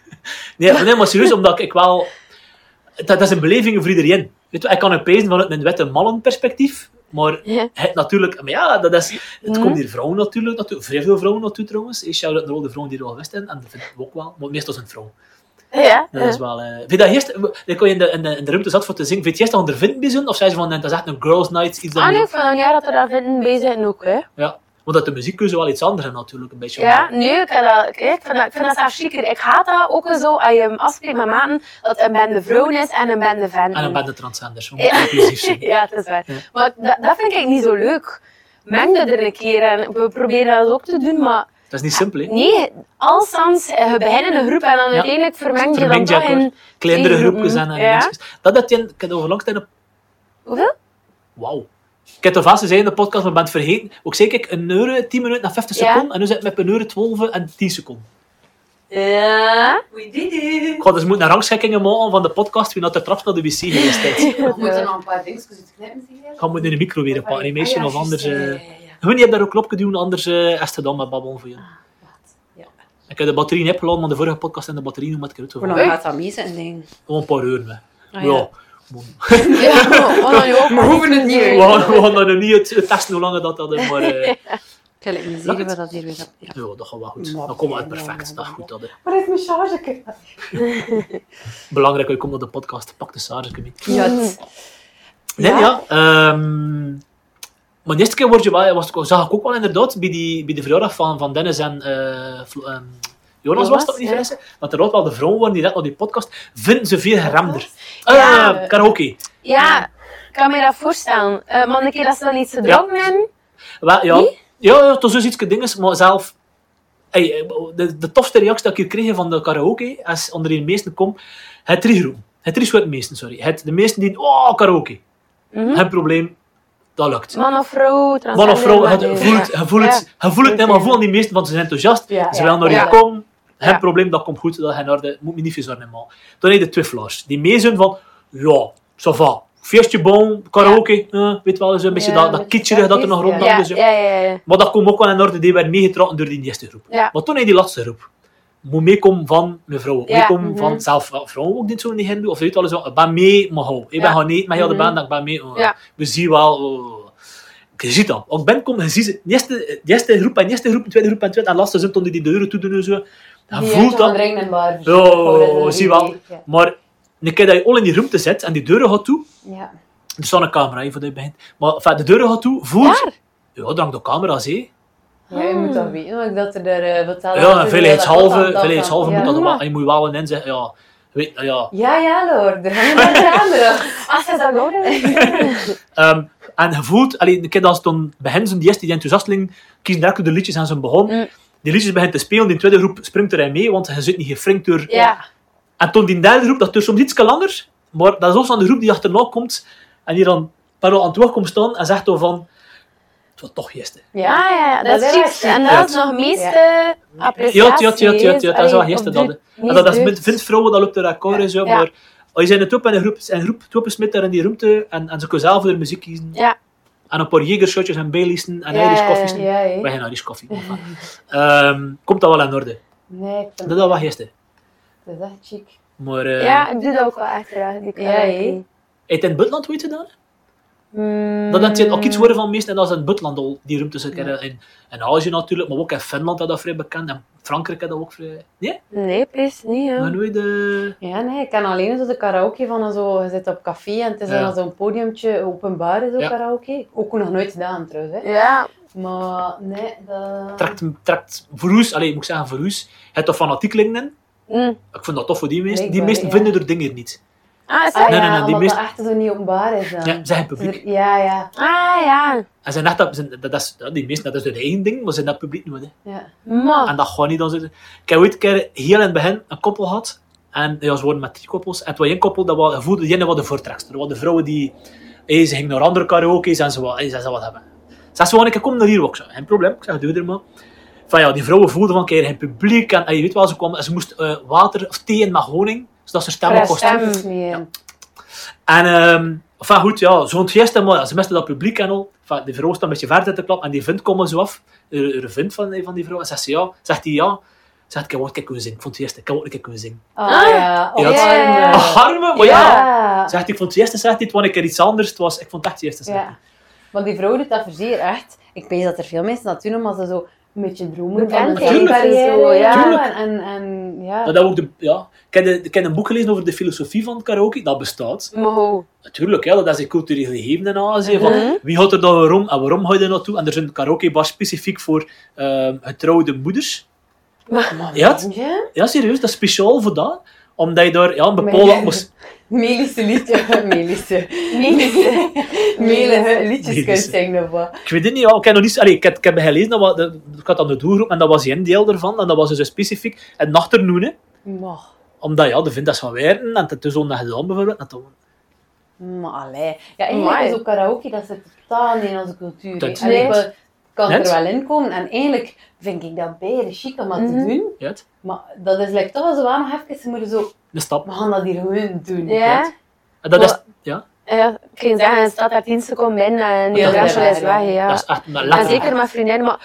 Nee, maar nee, maar serieus, omdat ik wel... Dat, dat is een beleving voor iedereen. Weet je, ik kan het pezen vanuit een witte mannen perspectief. Maar Ja. het natuurlijk... Maar ja, dat is... Het Mhm. komt hier vrouwen natuurlijk naartoe. Vrij veel vrouwen naartoe trouwens. Ik shout-out naar al de vrouwen die er al geweest zijn. En dat vind ik ook wel. Maar meestal zijn het vrouwen. Ja, Dat is wel... eh, vind je dat eerst... Dan kon je in de, in, de, in de ruimte zat voor te zingen. Vind je het eerst ondervind bij zo'n? Of zei ze van, nee, dat is echt een girls night. Iets dat Ah, we- nee, van een jaar dat er daar vinden bij zijn ook, hè. Ja. Want dat de muziekkeuze wel iets anders is natuurlijk, een beetje. Ja, nee, ik vind dat, ik vind dat, ik vind dat zelfs chiquer. Ik haat dat ook zo als je afspreekt met maten dat een bende vrouwen is en een bende venten. En dan ben de transgenders, we moeten inclusief zijn. Ja, dat is waar. Maar dat, dat vind ik niet zo leuk. Meng dat er een keer en we proberen dat ook te doen, maar Dat is niet simpel, hè? nee, alstans, eh, je begint in een groep en dan Ja. uiteindelijk vermeng je dan Vermengd, toch ja, hoor. in... Kleinere twee groepjes en groepen, en ja. dingetjes. Dat dat je, ik heb over lang tijd op... Hoeveel? Wauw. Ik heb het vast gezegd in de podcast, maar ben het vergeten. Ook zei ik een uur, 10 minuten en 50 Ja. seconden. En nu zit ik met een uur, 12 en 10 seconden. Ja. We did it! Ik ga dus moeten naar rangschikkingen maken van de podcast, wie dat er traps naar de wc geweest is. Ik We moeten nog een paar dus dingetjes uit knippen, zie je? ga moeten in de micro weer een paar, een meisje Ah, ja, of anders... juist, eh, ja, ja, ja. Hun, je hebt daar ook knopje doen, anders eh, is het dan met babbelen voor je. ja. Ik heb de batterie niet geladen, maar de vorige podcast en de batterie nog maar ik eruit Hoe gevallen. lang gaat dat mee zijn, ding? Gewoon een paar uur, hè. Ah, ja. ja. Ja, wat dan je ook. We hoeven het Oh, niet. We gaan- we gaan dat nu niet uit- testen hoe lang dat dat is, maar eh, Ik wil het niet Lukt zien het? wat dat hier weer gaat. Ja. ja, dat gaat wel goed. Maar- Dat komt uit perfect. Dat is goed. Dat, eh. Waar is mijn charge? Belangrijk, je komt op de podcast, pak de sarge mee. Ja, het- Nee, Ja. ja. ehm, maar de eerste keer word je wel, was, ik- zag ik ook wel inderdaad bij, die, bij de verjaardag van, van Dennis en eh, Flo- ehm, Jonas, was Jonas, dat niet ja. vergissen? Dat er ook wel de vrouwen worden die dat naar die podcast vinden ze veel geremder. Eh Ja. karaoke. Ja, ik kan me dat voorstellen. Eh maar een keer dat ze dan iets gedronken hebben... Wel, ja, Nee? ja, ja, tot zoiets dinges, maar zelf. Ey, eh, de, de tofste reactie dat ik hier kreeg van de karaoke, als onder de meesten kom, het drie groepen. Het drie soort meesten, sorry. Het, de meesten die, oh, karaoke. Mhm. Geen probleem, dat lukt. Man of vrouw, transgender... Man of vrouw, wat het dan ook. voelt, je voelt het, je voelt het Ja. helemaal vol aan die meesten, want ze zijn enthousiast. Ja. Ze willen naar je Ja. komen. Geen Ja. probleem, dat komt goed, dat gaat in orde. Moet me niet verzorgen, man. Dan heb je de twiffelaars, die mee zijn van, ja, ça va. Feestje bon, karaoke, eh, weet wel eens een beetje Ja, dat, dat een beetje kitscherig dat er nog dus dat is, rond Ja, ja, ja. ja. maar dat komt ook wel in orde, die werden meegetrokken door die eerste groep. Ja. Maar toen in die laatste groep, moet meekomen van mijn vrouwen, Ja, meekomen mhm. van zelf ja, vrouwen ook niet zo in die hindoe, of weet wel eens wat, ik ben mee, maar hou. Ik ben Ja. gewoon niet met heel de Mhm. band, dat ik ben mee, oh, Ja. we zien wel, oh. je ziet dat. Als ik ben kom, je ziet ze, de eerste, de eerste groep en de eerste groep, de tweede groep en de tweede, en de laatste zin toen die die deuren toe doen en zo, je voelt dat. en waar. Ja, zie wel. Maar een keer dat je al in die ruimte zit en die deuren gaat toe, Ja. er staat een camera, even dat je begint, maar enfin, de deuren gaat toe, voelt, ja, dan hangt de camera's, hé. Ja, je moet dat weten, want ik dat er daar eh, vertellen. Hmm. Ja, veiligheidshalve, veiligheidshalve ja. moet dat Ja. ook wel. En je moet wel een inzeggen, ja. Weet, nou ja. Ja, ja, Lord. Er hangen maar camera's. Als ze dat nodig Ehm, en je voelt, allee, een keer als toen begint zo'n die eerste, die enthousiasteling, kiezen direct de liedjes aan zijn begon. Mm. Die liedjes begint te spelen, die tweede groep springt erin mee, want je zit niet gefrinkt door. Ja. En toen die derde groep, dat duurt soms iets langer, maar dat is ook van de groep die achterna komt en die dan parel aan het woord komt staan en zegt dan van, het was toch gisteren. Ja. Ah, ja, dat Dat is is chic. wel En chic. dat is nog meeste appreciatie. Ja, ja, ja, ja, ja, ja, dat is wel Allee, eerste op dat, duur- En dat, dat is duur. met vindt vrouwen dat loopt de record en zo, Ja. maar als je zijn het op en een groep, en een groep toppers met daar in die ruimte en, en ze kunnen zelf hun muziek kiezen. Ja. En een paar jegershotjes en bijlisten en Ja, Irish ja, koffies. Ja, Wij hè. gaan Irish koffie. Ehm komt dat wel in orde. Nee, ik vind Dat was gisteren. Dat is echt chic. Maar eh Ja, ik doe dat ook wel echt graag. Die Ja, hè. eet in het buitenland, hoe heet het dan? Mm. Dat dat je ook iets horen van meesten en dat is in het buitenland al die ruimte zit. eh, In, in Azië natuurlijk, maar ook in Finland dat dat vrij bekend. En Frankrijk had dat ook vrij... Nee? Nee, pis niet, Maar ja. nooit de... Ja, nee, ik kan alleen zo de karaoke van zo, je zit op café en het is Ja. dan zo'n podiumtje openbaar, zo Ja. karaoke. Ook nog nooit gedaan trouwens, hè. Ja, Maar nee, dat... Trekt, trekt voor ons, allee, ik moet zeggen voor ons, het toch fanatiekelingen in. mm. Ik vind dat tof voor die meesten. Die Blijkbaar, meesten ja. vinden er dingen niet. Ah, is Ah, dat? Nee, ja, nee, nee, die omdat meest- dat echt zo niet openbaar is dan. Ja, ze zijn Ze- publiek. Ja, ja, Ah, ja. En zijn echt, dat, zijn, dat, dat is, ja, die meesten, dat is hun eigen ding, maar zijn dat publiek niet. Hè. ja. En Maar. dat gewoon niet. Dan zitten. Ik heb ooit een keer heel in het begin een koppel gehad. En ja, ze waren met drie koppels. En het was één koppel, dat was, je voelde die ene wat de voortrekster. Wat de vrouwen die, hey, ze gingen naar andere karaoke's en ze wat, hey, ze zei, wat hebben. Ze zei, gewoon een keer kom naar hier ook. zo. Geen probleem, ik zeg, doe er maar. Van ja, die vrouwen voelden van, keer geen publiek. En, en je weet wel, ze, kwam, ze moest eh, water of thee in met honing, zodat ze stem ook Vrij kon stem is mee. Ja. En, ehm enfin, goed, ja, zo'n gisteren, maar ja, ze misten dat publiek en al. Enfin, die vrouw staat een beetje verder te klappen en die vindt komen zo af. Er, er vindt van, van die vrouw en zegt ze ja. Zegt hij ja. Zegt ik heb ook een keer kunnen zingen. Ik vond het eerste, ik heb ook een keer kunnen zingen. Ah, ja. Ja, dat- Opwarmen. Ja. Ach, arme, maar oh ja. Ja. Zegt hij, ik vond het eerste, zegt hij, het was een keer iets anders. Het was, ik vond het echt het eerste, zegt Ja. Want die vrouw doet dat verzeer echt. Ik weet dat er veel mensen dat doen, omdat ze zo een beetje dromen van Bekend een Tuurlijk. carrière. Zo, ja. Tuurlijk. En, en, en ja. Nou, Dat dat ook de, ja. Ik, heb de- ik heb een boek gelezen over de filosofie van karaoke, dat bestaat. Maar hoe? Natuurlijk, ja, dat is een culturele gegeven in Azië. Van, Mhm. Wie gaat er dan waarom en waarom ga je daar naartoe? En er zijn karaokebars specifiek voor ehm, getrouwde moeders. Ja, het- Ja? ja, serieus, dat is speciaal voor dat. Omdat je daar ja, een bepaalde Maar- atmos- Melische liedje. Melische. Nee. Melige liedjes kunt Melische. zingen of wat. Ik weet het niet, ja, ik heb nog niet... Allee, ik, heb, ik heb gelezen, dat wa- dat, ik had dan de doelgroep, en dat was één deel ervan. En dat was dus een specifiek een nachternoen, hè. Maar, Omdat, ja, de Vindas van Weerden, en het is zondag gedaan, bijvoorbeeld. En dat- maar allee. Ja, eigenlijk Amai. is ook karaoke, dat zit totaal niet in onze cultuur. Dat hè. Allee, niet. wel, kan Net. er wel in komen. En eigenlijk vind ik dat beren chic om dat Mhm. te doen. ja, het- Maar dat is like, toch wel zo aan, nog even, ze moeten zo, de stap. we gaan dat hier gewoon doen. Ja? En dat, is, Maar- Ja, ik ging zeggen, hij staat daar 10 seconden binnen en eh, Ja, de rest ja, ja. is weg. dat Ja. is echt een En lekker. zeker met vriendinnen, maar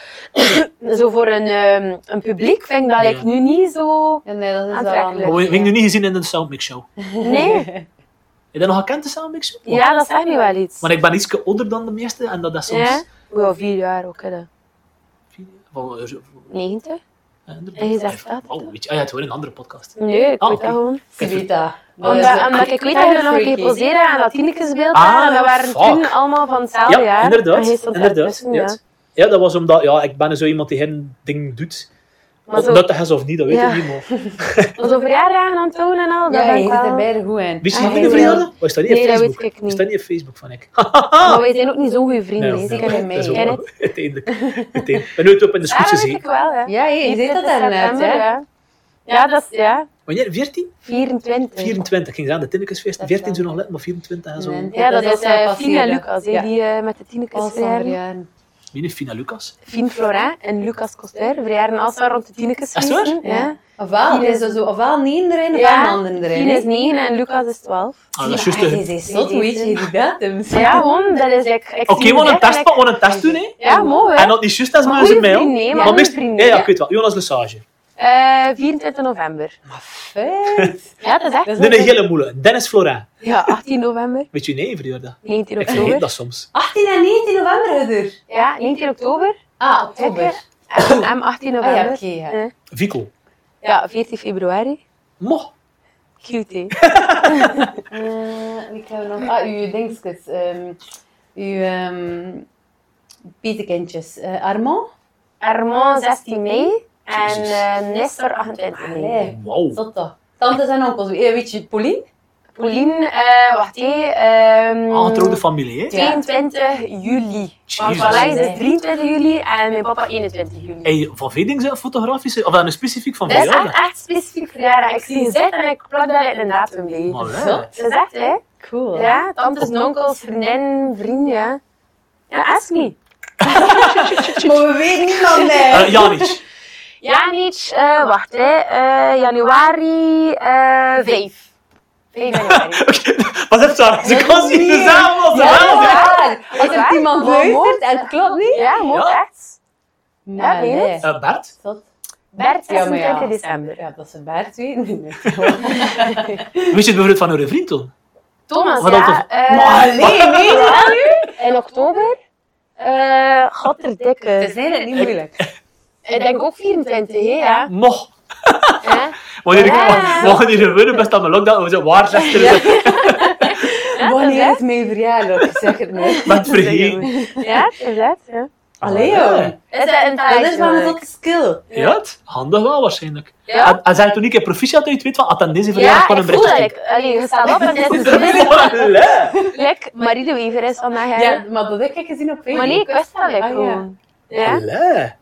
zo voor een, ehm, een publiek vind ik dat Ja. ik nu niet zo... Ja, nee, dat is wel Aantrekkelijk. Maar anders. we hebben nu niet gezien in de Soundmix Show. Nee. Heb je dat nog gekend, de Soundmix Show? Ja, dat zegt me wel iets. Maar ik ben iets ouder dan de meeste, en dat is soms... Ja? Wel vier jaar ook, hè. Van, eh, zo- 90? eh, inderdaad. En je zegt dat? Oh, weet je, ah, ja, het hoort in een andere podcast. Nee, ik Ah, weet oké. dat gewoon. Civita. Dat is Omdat, een omdat ik weet dat je nog een keer freaky. poseren aan dat tienekes beeld Ah, en dat waren fuck. toen allemaal van hetzelfde Ja, jaar. En inderdaad. jij stond inderdaad ertussen, ja. ja. Ja, dat was omdat ja, ik ben zo iemand die geen ding doet. Maar Of zo, dat hij is of niet, dat weet Ja. ik niet. Maar... zo verjaardagen aan het tonen en al, dat Ja, ben je ik zit wel- er beide goed in. Wist je Ah, nog hij niet de is wel- verjaardag? Was dat niet op Nee, dat Facebook? weet ik Is niet. dat niet op Facebook van ik? Maar wij zijn ook niet zo goede vrienden, Nee, hè. nee. zeker niet Dat mee. is Ik ook ken wel het. uiteindelijk. uiteindelijk. Ik ben nooit op in de Ja, schoot dat weet ik gezien. wel, hè. Ja, je, je zit dat 14 daarnet, september, hè? ja. Ja, dat is, ja, Wanneer? 14? 24. 24. Ik ging ze aan de Tinnekesfeest. Dat 14 wel. zo nog let, maar 24 en zo. Nee. Mine Ja, dat, Dat is is eh al Fien en passeren. Lucas, hè, Ja. die eh, met de tienekes verjaren. Alexandriaan. Fina Lucas. Ah, Fien Florin en Lucas Coster verjaren als we rond de tienekes Echt waar? feesten, Ja. Ofwel, Fien is er zo, ofwel niet erin, ofwel Ja, een ander erin. Fien is 9 en Lucas is 12. Ah, dat is juist de- Je is zot, hoe weet je die datums? Ja, gewoon, dat is... ik- ik Oké, zie we gaan een het test, echt, we gaan een test doen, hè? Oh, Ja, mooi, hè. En dat niet juist als Maar maar ze goeie mail. vrienden, hè, maar Maar goeie meest- vrienden, Ja, ja, ja. ik weet wel. Jonas Lesage. Eh, 24 november. Maar vet. Ja, dat is echt... Dat is Dunne wel- Gille Moele. Dennis Florin. Ja, 18 november. Weet je, nee, verjaardag. 19 Ik vergeet oktober. dat soms. 18 en 19 november, er. Ja, 19 oktober. Ah, oktober. En en 18 Ah ja, november. oké. ja. Eh, Vico. Ja, 14 februari. Mo. Cute, hè. Eh, wie hebben we nog? Ah, uw dingetjes. ehm uw ehm pietekindjes. Eh, Armand? Armand 16 mei en Jezus. eh, Nestor 28 mei. Allee, oh, Wauw. zot toch. Tantes en onkels. Eh, Weet je, Pauline? Pauline, eh wacht hé, ehm, Aangetrouwde Ah, familie, hè? Ja. 22 juli. Want Jezus. Valais is 23 juli en mijn papa 21 juli. Hey, van Veding zijn fotografische, of dan een specifiek van Dat is echt, verjaardag. echt specifiek verjaardag. Ik zie gezet en ik plak daar in een datum bij. Maar hè. Zot. Gezegd, hè? Cool. Ja, tantes, en onkels, vriendinnen, vrienden, ja. Ja, ask me. Maar we weten niet van mij. Eh, Janic. Janic, eh, wacht hè, eh, januari eh 5. 5 januari. Wat heeft daar? Ze kan zien de zaal als de Ja, zaal. dat is zeg. waar. Als er iemand Wat luistert en het klopt niet. Ja, mooi Ja. echt. Ja, weet je nee. het? Eh, Bert? Zot. Bert, Ja, maar 26 ja. december. Ja, dat ze Bert weten. Weet je het bijvoorbeeld van uw vriend toen? Thomas, Wat dan ja. eh, Maar nee, nee, nee. in oktober. Eh Het is Godverdikke. eigenlijk niet moeilijk. Ik denk ook 24, hè, ja. Mo. Ja. Wanneer ik Ja. mogen hier gebeuren, best aan mijn lockdown, we zijn waar zegt er Wanneer is mijn verjaardag? Ik Zeg het me. met vergeten. Ja, het is dat, ja. Allee, joh. Is dat een Dat is wel een tijdje? grote skill. Ja, het? handig wel waarschijnlijk. Ja. En, en zeg toen ik heb proficiat dat je het weet van, attend deze verjaardag Ja, kan ik een voel bericht dat ik... Allee, je staat op en het is een sturen. Voilà. Like, Marie de Wever is vandaag, hè. Ja, maar dat heb ik gezien op Facebook. Maar nee, ik wist dat like, Ah, ja. gewoon. Ja. Voilà.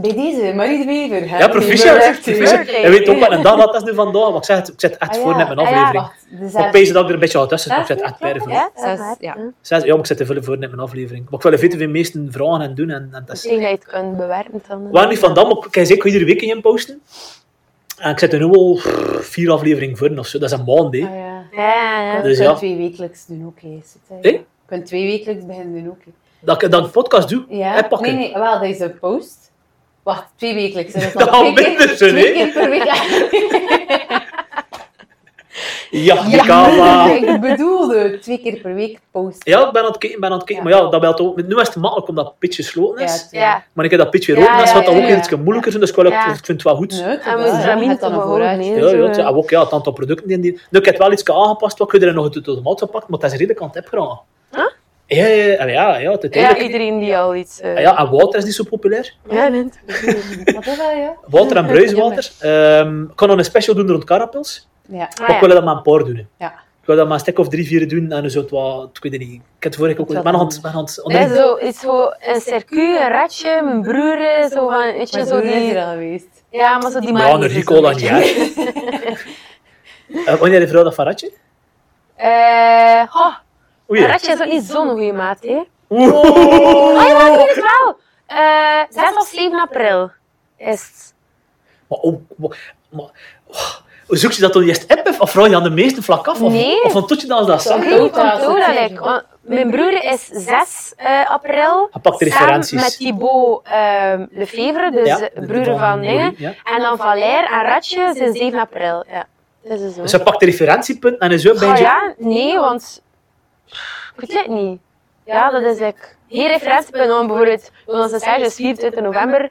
Bij deze, Marie de Wever. hè. Ja, Die proficiat. werkt hier. proficiat. Je weet ook wat een dag dat is nu vandaag, maar ik zeg het, ik zet echt Ah, voor ja. net mijn Ah, ja, aflevering. wacht, dus Maar dat- ik pees dat ik er een beetje al tussen, ik dat- zet echt per voor. Ja, dat is zes, waar. ja. Zes, ja, maar ik zet te veel voor net mijn aflevering. Maar ik wil weten wie meesten vragen en doen. En, en dat Ik is... denk dat je het kunt bewerken dan. Waar niet van dan, maar ik kan zeker iedere week in posten. En ik zet er nu al pff, vier afleveringen voor in of zo. Dat is een maand, hè. Ah, ja. Ja, ja. Je Dus kunt ja. twee wekelijks doen ook. hè, is het, Hé? hè. Je kunt twee wekelijks beginnen doen ook. hè. Dat ik dan een podcast doe, Ja. hè, pakken. Nee, nee, wel, dat is een post. Wacht, twee wekelijks. is het Dat dan al twee keer- minder zijn, Twee hè? keer per week. Ja, die Ja. kava. Ik bedoelde twee keer per week posten. Ja, ik ben aan het kijken, ben aan het kijken. Ja. Maar ja, dat belt ook. Nu is het makkelijk omdat het pitje gesloten is. Ja. Maar ik heb dat pitje weer Ja, open, dus ja, gaat dat ja, ook ja. iets moeilijker zijn. Dus ik, wil ook- ik Ja. vind het wel goed. Nee, En we moeten ja, Ramin gaat te dan naar behoren. vooruit. nee, Ja, ja, zo. het, en ook ja, het aantal producten in die... Nu, ik heb wel iets aangepast, wat ik heb er nog tot de mat gepakt, maar het is redelijk aan het hebben Huh? Ja, ja, ja, ja, ja, het Ja, uiteindelijk... iedereen die al iets... eh, Ah, Ja, ja, en water is niet zo populair. Ja, bent. Maar toch wel, ja. Water en bruiswater. Ehm, ik kan nog een special doen rond karapels, Ja. maar ik wil dat maar een paar doen. hè. Ja. Ik wil dat maar een stuk of drie, vier doen en dan zou het wat... Ik weet het niet. Ik heb het vorige keer ook... Ik Dat ben nog aan wel. het- ben nog aan het... Ja, onderzoeken. zo, is zo een circuit, een ratje, mijn broer, eh, zo van, weet je, Maar zo zo is die... er al geweest. Ja, maar zo die Ja, een Rico dan niet, hè. Eh, Wanneer heeft vrouw dat van ratje? Eh, oh, Oei. een ratje is ook niet zo'n goede maat, hè. Oh. Oeh. Oh ja, dat weet ik wel. Eh 6 of 7 april is het. Maar, oh, maar, maar oh, zoek je dat dan eerst app of vraag je aan de meeste vlak af? Of, Nee. of onttoet je dan als dat Sorry. samen? Nee, ik dat is onthoud dat het ik. zeker. Want Mijn broer is 6 eh, april. Hij pakt de referenties. Samen met Thibaut ehm Lefevre, dus Ja, eh, de- broer van van, Marie, Dingen. ja. En dan Valère en Ratje zijn 7 april. Ja, dat is zo. Dus hij pakt de referentiepunt en is zo bij Oh je. ja, nee, want ik weet het niet. Ja, dat is ik. Geen referentiepunt, want bijvoorbeeld, onze stage is 24 november.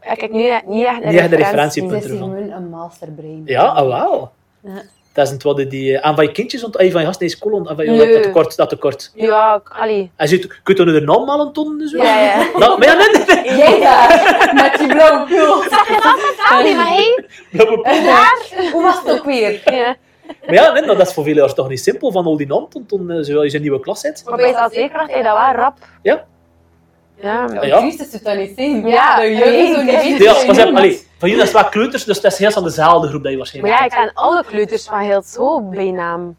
Heb ik nu echt- niet echt een Niet echt een Het referentiepunt. referentie. is ervan. gewoon een masterbrain. Ja, ah, wauw. Ja. Dat is het wat die... Aan van je kindjes, want ah, van je gasten is kolon. Aan van je... Nee. Dat tekort, dat tekort. Ja, ik- allee. Hij zegt, kun je nu de naam al tonen? Zo? Ja, ja. Nou, maar ja, nee, nee, nee. Jij daar, met die blauwe pul. Ah, nee, maar hey. Blauwe poel. Hoe was het ook weer? Ja. Maar ja, nee, nou, dat is voor veel jaar toch niet simpel, van al die naam tonen, zowel je eh, in nieuwe klas zit. Maar bij Salzeekracht, hey, dat was rap. Ja. Ja. Ja, Ja. ja. is het dan niet zien. Ja, Ja, de jeugd zo niet nee. weten. Ja, maar ze Ja, hebben- allee, van jullie is het wel kleuters, dus dat is heel aan dezelfde groep dat je Maar waarschijnlijk ja, ik ken alle kleuters van heel zo bijnaam.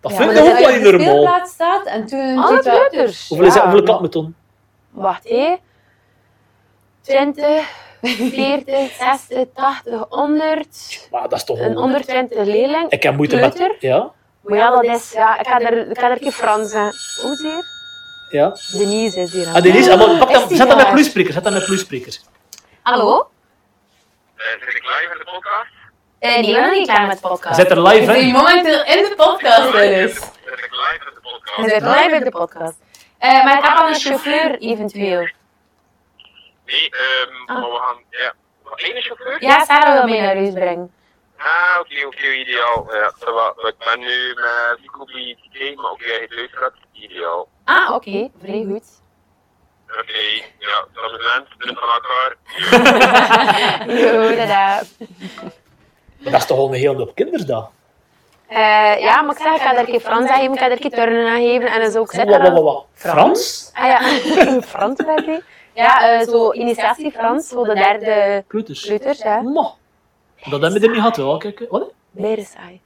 Dat maar vind ik dat ook wel je op niet de normaal. speelplaats staat en toen Alle zit dat- kleuters. Hoeveel, is Ja. dat, hoeveel klap met ton? Wacht, hé. 20, 40, 60, 80, 100. Maar dat is toch Een wel... onder 20 leerling. Ik heb moeite met... Kleuter? Ja, Maar ja, dat is... Ja, ik ga er, ik ga er geen Frans zijn. Hoe zeer? ja. Denise is hier aan. Ah, Denise, ah, maar pak Is dan, die zet dat met daar? vloeisprekers, zet dat met vloeisprekers. Hallo? Eh, zit ik live in de podcast? Eh, nee, we zijn niet klaar met de podcast. Zet er We live zijn in. momenteel in de podcast, dus. Eh, Zit ik live in de We podcast? zijn live in de podcast. Eh, maar ik heb al een chauffeur, eventueel. Nee, ehm, maar we gaan. Ja. Nog één chauffeur? Ja, Sarah wil mij naar huis brengen. Ah, oké, oké, ideaal. Ja, dat wel. ik ben nu met Scooby TK, maar oké, hij het luistert. Ideaal. Ah, oké. Vrij goed. Oké, ja, dat is een mens, binnen van elkaar. Yo, dada. Dat is toch al een heel hoop kinderdag. Eh, ja, maar ik zeg, ik ga er geen Frans aan geven, ik ga er geen turnen aan geven en zo. Ik zit Wa- wa- wa- eraan. wa- Frans? Ah ja, Frans werd die. Ja, eh, zo initiatie Frans, voor de derde Kleuters. kleuters, ja. Mo. Dat hebben we er niet gehad, wel. Kijk, eh, wat? Beren saai.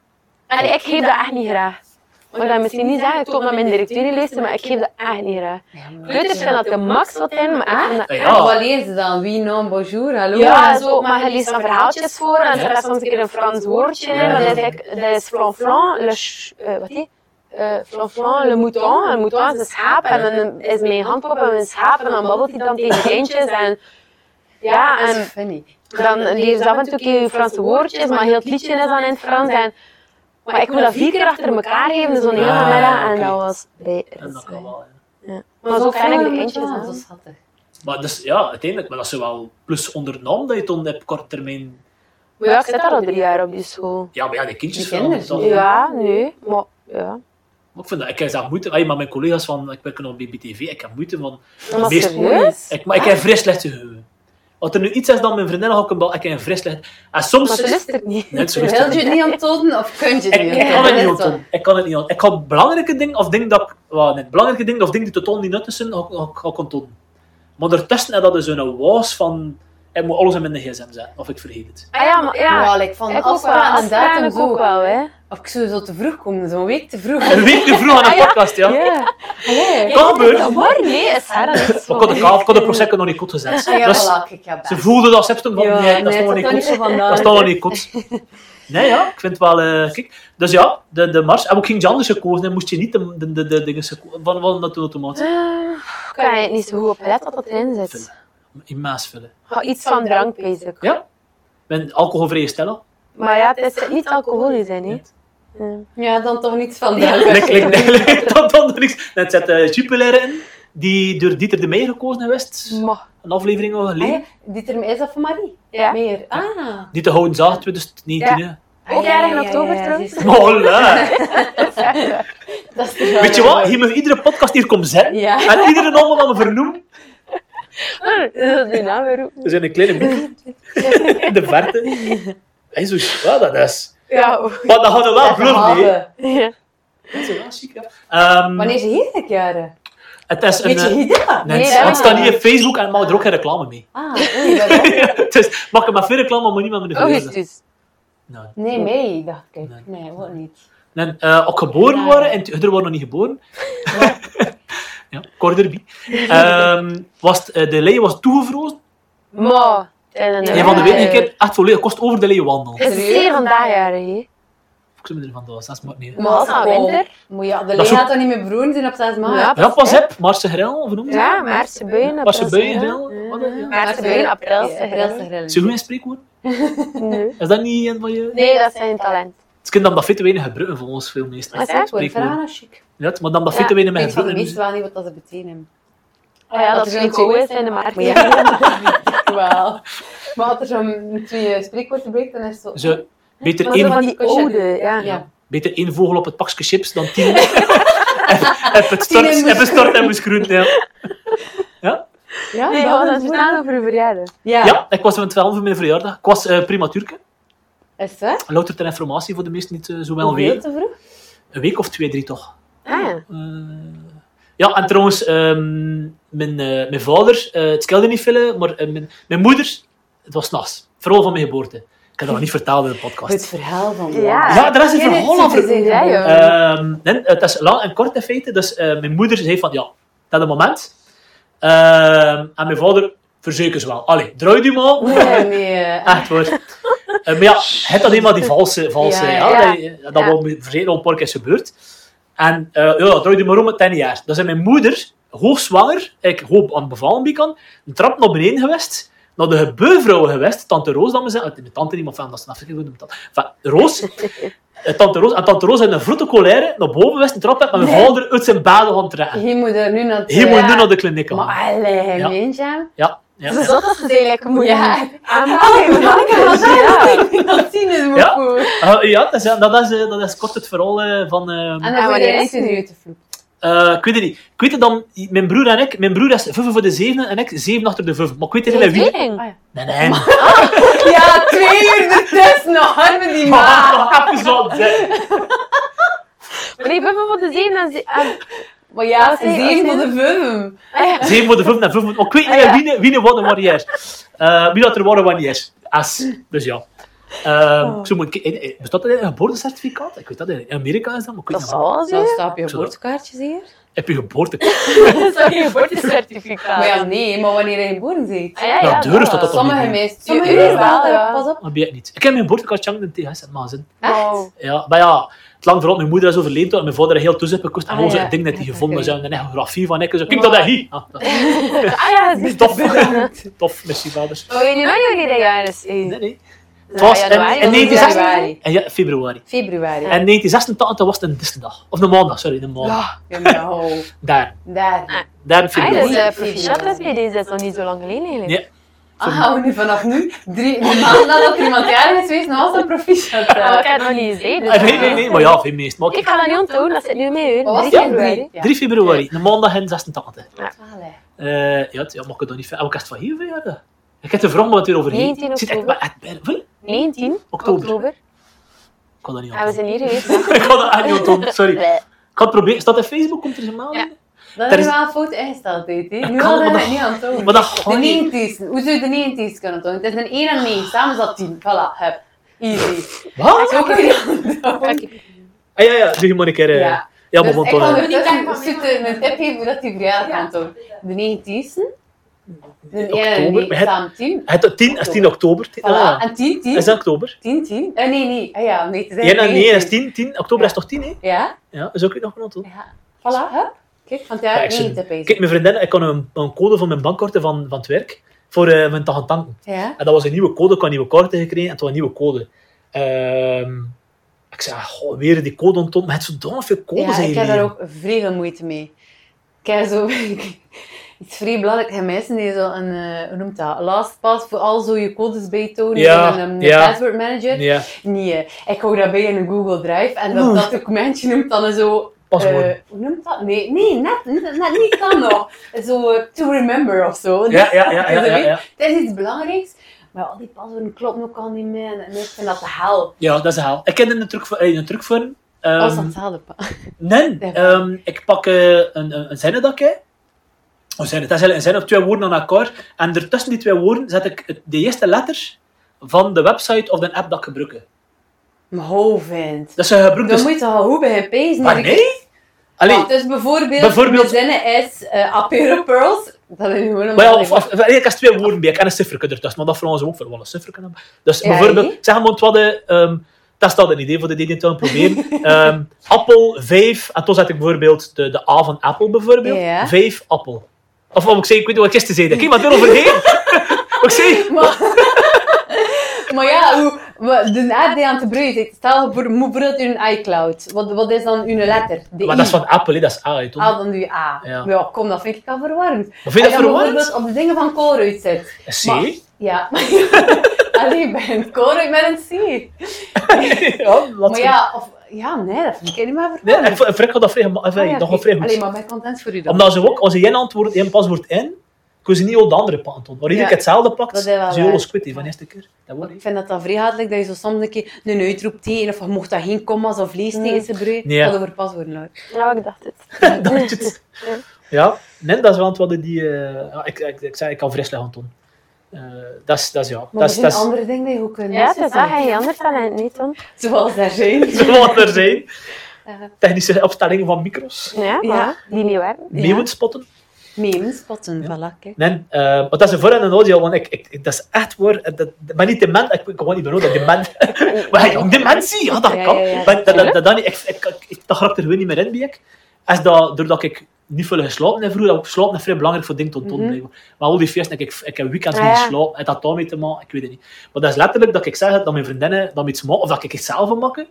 Allee, ik geef dat echt niet graag. Maar dat misschien niet zeggen, ik tot met mijn directeur niet lezen, maar ik geef dat echt niet graag. Kleuters vinden dat de max wat in, maar ik vind dat- Eh, En Ja. Wat leer ze dan? Wie, non, bonjour, hallo? Ja, zo, maar je leest dan verhaaltjes voor en er Ja. staat soms een keer een Frans woordje in. Ja. Dan zeg ik, dat is flanflan, le ch- eh, wat is eh flanflan, le mouton. Een mouton is een schaap en dan is mijn handpop en een schaap en dan babbelt hij dan tegen de kindjes. En, ja, Dat en is funny. dan leer ze af en toe een keer je Franse woordjes, maar heel het liedje is dan in het Frans. En, maar ik moet dat vier keer achter elkaar geven, dus zo'n hele Ah, middag. En oké. dat was bij En dat kan wel, ja. Maar zo ken ik de kindjes. Ja, Zo hè. schattig. Maar dus, ja, uiteindelijk, maar dat is wel plus onder naam dat je ton op korte termijn... Maar ja, ik zit daar al drie jaar op die school. Ja, maar ja, de kindjes Die veranderen kinderen, toch. ja. Ja, nee, maar ja. Maar Ik vind dat, ik heb zelf moeite, ah, maar mijn collega's van, ik werk nog op BBTV, ik heb moeite van... Ja, Maar Meest- serieus? Ik, maar ik heb vrij slecht geheugen. Als er nu iets is dan mijn vriendin ook een bal, ik heb een vrij slecht... En soms... Maar ze luistert niet. Nee, ze luistert Wil je het niet onttonen of kun je het Ik, niet ik kan het niet onttonen? ontdoen. Ik kan het niet ontdoen. Ik ga belangrijke dingen of dingen dat ik, wel, nee, belangrijke dingen of dingen die totaal niet nuttig zijn, ga, ik- ga, ik- ga ik ontdoen. Maar daartussen heb dat dus een waas van ik moet alles in mijn gsm zetten of ik vergeet het. Ah ja, maar ja. Ja, ik van Ik ook wel. afspraak aan Afspraken datum ik ook zo. wel, hè. Of ik zou zo te vroeg komen, zo'n week te vroeg. Een week te vroeg aan een podcast, ja. Ja. Allee. Kan gebeuren. Maar nee, is haar niet Maar zo. ik had de kaal, ik had de prosecco nog niet goed gezet. Ah, Ja, Dus voilà, kijk, ja, ze best. voelden dat septum van, Ja, nee, dat is nee, nog dat niet is goed. niet Dat zo is vandaag. toch nog niet goed. Nee, ja, ik vind het wel... eh, kijk, dus ja, de, de mars. En ook ging je anders gekozen, hè. moest je niet de, de, de, de dingen geko- van, van dat automatisch Ik kan er niet zo goed op letten wat erin zit. in maas vullen. Ga iets van drank bezig. Ja. Mijn alcoholvrije stellen. Maar ja, het is niet alcoholisch in, hè. Ja, dan toch niets van Klik, klik, klik, dat dan er niks. Net zet uh, in, die door Dieter de Meijer gekozen heeft, Maar, een aflevering al geleden. Ah, ja, die term is dat van Marie? ja. Meer. Ah. Die te houden zag 2019. hè. Ook jarig in oktober trouwens. trouwens. Voilà. Dat is toch wel Weet je wat? mooi. Hier moet iedere podcast hier komen zetten. Ja. En iedereen allemaal aan me vernoemt. Dat is die naam weer roepen. We zijn een kleine beetje. In de verte. Hij zo ja, dat is. Ja, Maar dat gaat er wel Dat is bluffen, hè. hadden. Ja. Dat is wel chic, ja. Ehm, Wanneer ze hier dit jaren? Het is een... Weet je eh, hier dat? Nee, Nee, want dat het staat is- niet op Facebook en maak er ook geen reclame mee. Ah, oei, waarom? Het is, maak er maar veel reclame, maar niet met mijn Oh, geuzen. Augustus. Nee. Nee, mee, dacht ik. Nee. Nee, ook niet. En, eh, ook geboren Ja. worden, en er worden nog niet geboren. ja, kort erbij. Ehm, was het, eh, de leeuw was toegevroren. Maar, en En Ja, een van de ja, weinige ja. keer echt volledig kost over de leeuw wandelen. Het is zeer vandaag jarig, hè. Ik zit me ervan door, dat is maar niet. Maar als het Wow. winter... Maar ja, de Dat is Lee ook- gaat toch niet meer broer zijn op 6 maart? Ja, Ja, pas heb, Marse Grel, of hoe noem je Ja, maartse buien, Maartse april, buien, ja. gril, wat Ja. is het? Maartse buien, april, Ja, gril. april, gril. dat? Is je goed in spreekwoord? Nee. Is dat niet een van je... Nee, dat zijn talent. Het kind dan dat veel te weinig gebruiken voor ons veel meestal. Is dat? Spreekwoord. Verhaal, chic. Ja, maar dan dat veel te weinig met Ik weet van de gebruiken. meesten wel niet wat dat ze betekenen. Ah ja, dat is een goed is in de markt. Maar ja, ik wel. Maar als er zo'n twee spreekwoorden breekt, dan is het zo... Ze, eh, beter Maar zo één van die oude, ja. Ja. Beter één vogel op het pakje chips dan tien. Heb het stort, Tien in heb het stort en moeskroen. Ja. Ja, Nee, we hadden het gedaan over uw verjaardag. Ja. ja, ik was er met 12 voor mijn verjaardag. Ik was eh prematuurke. Is het waar? Louter ter informatie voor de meesten niet eh, zo wel Hoeveel weten. te vroeg? Een week of twee, drie toch. Ah ja. Eh, ja, en trouwens, ehm, mijn, eh, mijn vader, eh, het scheelde niet veel, maar eh, mijn, mijn moeder, het was 's nachts. Vooral van mijn geboorte. Ik heb dat nog niet verteld in de Het podcast. verhaal van de Ja. Ja, daar is een Ken het verhaal over. zo te zeggen, Ja, joh. Ehm, nee, het is lang en kort in feite. Dus eh, mijn moeder zei van, ja, dat is het moment. Ehm, en mijn vader, verzeker ze wel. Allee, draai die man. Nee, nee. eh, Echt hoor. Eh, maar ja, het had eenmaal die valse, valse Ja, ja, ja. dat- dat Ja. wel me- verzeker al een paar keer is gebeurd. En eh ja, draai die maar om met 10 jaar. Dan zijn mijn moeder, hoogzwanger, ik hoop aan het bevallen bij kan, een trap naar beneden geweest. Naar de gebeurvrouw geweest, tante Roos, dat me zei. eh, Tante niet, maar van, dat is een afgekeerde noemt dat. Enfin, Roos, eh, Tante Roos. En Tante Roos in een vroete colère naar boven wist een trap uit mijn vader uit zijn baden gaan trekken. Hier moet er nu naar Ah. Hier moet je nu Ja. naar de kliniek gaan. Maar allee, Ja. meen je hem? Ja, Het ja. is zot Ah, dat ze zijn lekker moeilijk. Ja. Aan- Allee, maar kan ik Ah, Oh, Ja. wel zeggen dat ik zien is moet Ja. goed. Eh, ja, dat is, eh, dat, is, eh, dat is kort het verhaal eh, van... eh, En Ja, dan word wanneer je is eens het nu? in te vloeken. eh, ik weet het niet. Ik weet het dan, mijn broer en ik, mijn broer is vijf voor de zevende en ik zeven achter de vijf. Maar ik weet het niet met wie. Tweeling. Nee, nee. Ja, twee uur nou, ertussen nog hebben die Maar ma. dat kan zo zijn. Maar nee, Buffel van de Zee en ze- Ah, en- Maar ja, Als ze hij- zeven als van hij- de film. Ah ja. Zeven voor de vijf en vijf voor de... Maar ik weet niet Ah, ja. met wie, wie er wat en wat niet is. Eh, wie dat er wat en wat niet is. As. Dus ja. Ehm, zo moet ik, eh, eh, bestaat dat in een geboortecertificaat? Ik weet dat in Amerika is dat, maar ik weet Dat niet. zal wel Zo zijn. stap je Zo. bordkaartjes hier. Heb je geboorte? Dat is je geboortecertificaat. Maar ja, nee, maar wanneer je geboren bent. Ah, ja, Nou, ja, deur is dat toch Sommige niet, nee. mensen. Sommige Sommige uur mensen wel, wel, ja. hè, pas op. Maar ben ik niet. Ik heb mijn geboortekaartje hangen in het THS in het magazijn. Wow. Ja, maar ja, het lang verhaal, mijn moeder is overleden en mijn vader er heel tussen heeft gekost. En Ah, gewoon ja. zo'n ding dat hij Ja, gevonden dat is. ken En een echografie van ik. en Zo, kijk dat hij hier. Ah, dat is Ah ja, Oh, het is tof. Bedankt. tof, merci vaders. Maar weet je nog niet wanneer dat jaar is? Nee, Nee, nee. Het was in, januari, in dat is 1986. januari. En ja, februari. Februari. En 1986 was het een dinsdag. Of een maandag, sorry, een maandag. Ja, Ja, maar hou. Daar. Daar. Daar in Ah, februari. dat is eh, Februari. proficiat dat bij deze, dat is nog niet zo lang geleden eigenlijk. Nee. Ah, oh, nu vanaf nu. Drie een maand nadat er iemand jarig is geweest, nou was dat proficiat. eh. Ah, maar hè. ik heb het nog niet gezien. dus- Ah, nee, nee, nee, maar ja, veel meest. Maar Ik ik- ga dat niet onthouden, dat zit nu mee Wat hoor. was het? 3 februari. Ja. 3 februari, een maandag in 86. Allee. Eh, ja, het- ja, mag ik het nog niet ver- Ah, ik heb het van hier verjaardag. Ik heb de vraag maar wat weer overheen. 19 Zit echt, oktober. maar echt bijna- Wel, 19 oktober. oktober. Ik kan dat niet En we onthouden. zijn hier geweest. Ik kan dat echt niet onthouden, sorry. Ik Bleh. ga het proberen. Staat op Facebook? Komt er een maand? Ja. in? Dat Er is is- wel een fout ingesteld, weet je. Nu kan, hadden we maar het niet aan het doen. Maar dat gaat De niet. 90 Hoe zou je de 90 kunnen doen? Het is een 1 en 9. Samen is dat 10. Voilà, heb. Easy. Wat? Zo kun je dat doen. Ah, ja, ja, doe je maar een keer. eh, Ja. Ja, maar Dus want ik kan dan... eh, er dus een, een tip geven hoe dat die verjaardag kan doen. De 90 De 1 en Oktober, 9 maar het- samen 10. Het 10 is 10 oktober. Tien- Voilà. ah, En 10, Is 10. dat oktober? 10, 10. Eh, nee, nee. Ah ja, nee, het is Ja, nee, nee, is eigenlijk 10. 10 oktober is toch 10, hè? Ja? Ja, zo kun je het nog een aantal. Ja. Voilà, hè? Kijk, want ja, Ja, ik nee, zit- tip is. Kijk, mijn vriendin, ik kan een, een code van mijn bankkorten van, van het werk voor eh, mijn dag aan het tanken. Ja? En dat was een nieuwe code, ik had een nieuwe kaarten gekregen en het was een nieuwe code. Ehm, ik zei, goh, weer die code ontont. Maar het is zodanig veel codes Ja, in ik je heb daar leven. ook vrij veel moeite mee. Ik heb zo... Iets vrij belangrijk. Er zijn mensen die zo een, eh hoe noemt dat, LastPass voor al zo je codes bijtonen Ja, en een ja. password manager. Ja, Nee, ik hou dat bij in een Google Drive en dat, Oh. dat documentje noemt dan zo... paswoord. eh, hoe noemt dat? Nee, nee net, net, net niet dan nog. Zo eh, to remember of zo. ja, ja, ja, ja, Dus ja, dat ja. Het is iets belangrijks, maar al die paswoorden kloppen ook al niet meer. En ik vind dat de hel. Ja, dat is de haal. Ik ken er een truc voor. eh, Een truc voor. Ehm, Als dat hetzelfde pa- Nee, Ja. ehm, ik pak eh, een, een, een zinnendakje. Een zin, het is eigenlijk een zin of twee woorden aan elkaar. En ertussen die twee woorden zet ik het- de eerste letter van de website of de app dat ik gebruik. me hoofd vindt. Dus ze gebruikt Dan dus... moet je toch al goed bij je pezen. Maar dat ik- nee! Allee, Want dus bijvoorbeeld, Bijvoorbeeld- bijvoorbeeld... zinnen is eh apero pearls. Dat is gewoon een maar ja, of, of, of- nee, ik heb twee woorden bij ik en een cijfer ertussen. Maar dat vragen ze ook voor, wel een cijfer hebben. Dus Ja, bijvoorbeeld, hè? zeg maar wat de... ehm dat is dat een idee voor de die het willen proberen. Ehm, appel, vijf. En toen zet ik bijvoorbeeld de, de A van appel bijvoorbeeld. Ja. Vijf, appel. Of wat ik zei, ik weet niet wat ik gisteren zei. Ik heb iemand over heen. ik zei... Maar, maar ja, hoe, wat- de app die aan te broeien zit. Stel je voor- moet bijvoorbeeld een iCloud. Wat, wat is dan uw letter? De Maar I. dat is van Apple, hè, dat is A. hè, toch? Ah, dan doe je A. Ja. Ja. kom, dat vind ik al verwarrend. Maar vind je dat Als verwarrend? bijvoorbeeld op de dingen van Colruyt zit. Een C? Maar- Ja. Allee, bij een koren met een C. ja, laat Maar ze- ja, of, ja, nee, dat vind ik helemaal Nee, vervelend. ik vond- ik vond dat vrij, ma- enfin, Ah, ja, nog wel oké. vrij goed. Allee, maar ben ik content voor u dan. Omdat ze ook, als je één antwoord, één paswoord in, kun je niet al de andere pakken. Want iedere Ja. keer hetzelfde pakt, Dat is wel ze je waar. alles kwijt hè, van de eerste keer. Dat wordt Ik niet. vind dat dan vrij hatelijk dat je zo soms een keer een uitroepteken of je mocht daar geen commas of Mm. leestekens gebruiken. Nee. Dat over paswoorden laat. Ja, ik dacht het. Dat is het. Ja, nee, dat is wel wat die... eh, ja, ik, ik, ik zei, ik kan vrij slecht aan doen. Eh, dat is, dat is ja. Maar Dat er is, zijn dat is andere dingen die je ook kunt Ja, het is dat. doen. Ga je anders dan het niet, Tom? Zoals daar zijn. wat er zijn. Ja. Technische opstellingen van micro's. Ja, Ja. voilà. die niet werken. Mee moet spotten. Memes, potten, voilà, kijk. Nee, eh, maar dat is een voor- en een audio, want ik, ik, ik- dat is echt waar. eh, Dat, maar niet de man, ik, ik kan niet benoemen dat de man. maar hij jong dementie, ja, dat Ja, kan. ja, ja, maar, dat, dat, tuurlijk. dat, dat niet, ik, ik, ik, ik- dat grap er gewoon niet meer in, die ik. Als dat, doordat ik niet veel geslapen heb vroeger, dat ik slapen is vrij belangrijk voor dingen tot toon blijven. Maar al die feesten, ik, ik heb weekends Ah, niet Mhm. ja. geslapen, het had daarmee te maken, ik weet het niet. Maar dat is letterlijk dat ik zeg dat mijn vriendinnen dat me iets maken, of dat ik het zelf wil maken.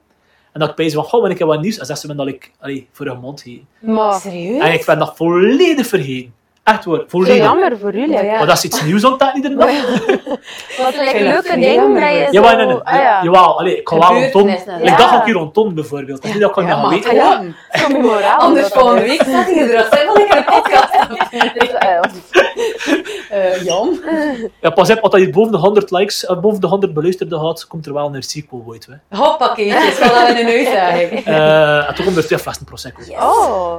En dat ik pees van, goh, maar ik heb wat nieuws, en dat ze me dat ik, allee, voor een mond heen. Maar, Ah. Serieus? En ik ben dat volledig vergeten. Echt waar, zo volledig. jammer voor jullie. Maar ja, Maar dat is iets nieuws aan dat iedere dag. Wat een vind dat leuke vrij ding jammer. dat je zo... Jawel, nee, nee. ah, ja. Jawel, allee, ik ga wel Gebeurtenis rondom. net, Ik ja. dacht ook hier rondom bijvoorbeeld. Dat is niet dat ik Ja, niet maar- al weten. Ja. Zo memorabel. Anders dat dat volgende is. week staat hij er al zijn, want ik heb een podcast. Eh, Eh, Jan. Ja, pas op, als dat je boven de 100 likes, eh, boven de 100 beluisterden gaat, komt er wel een sequel ooit. hè. Hoppakkeetjes, wat hebben we nu eigenlijk? Eh en toen komt er twee flessen prosecco. Oh.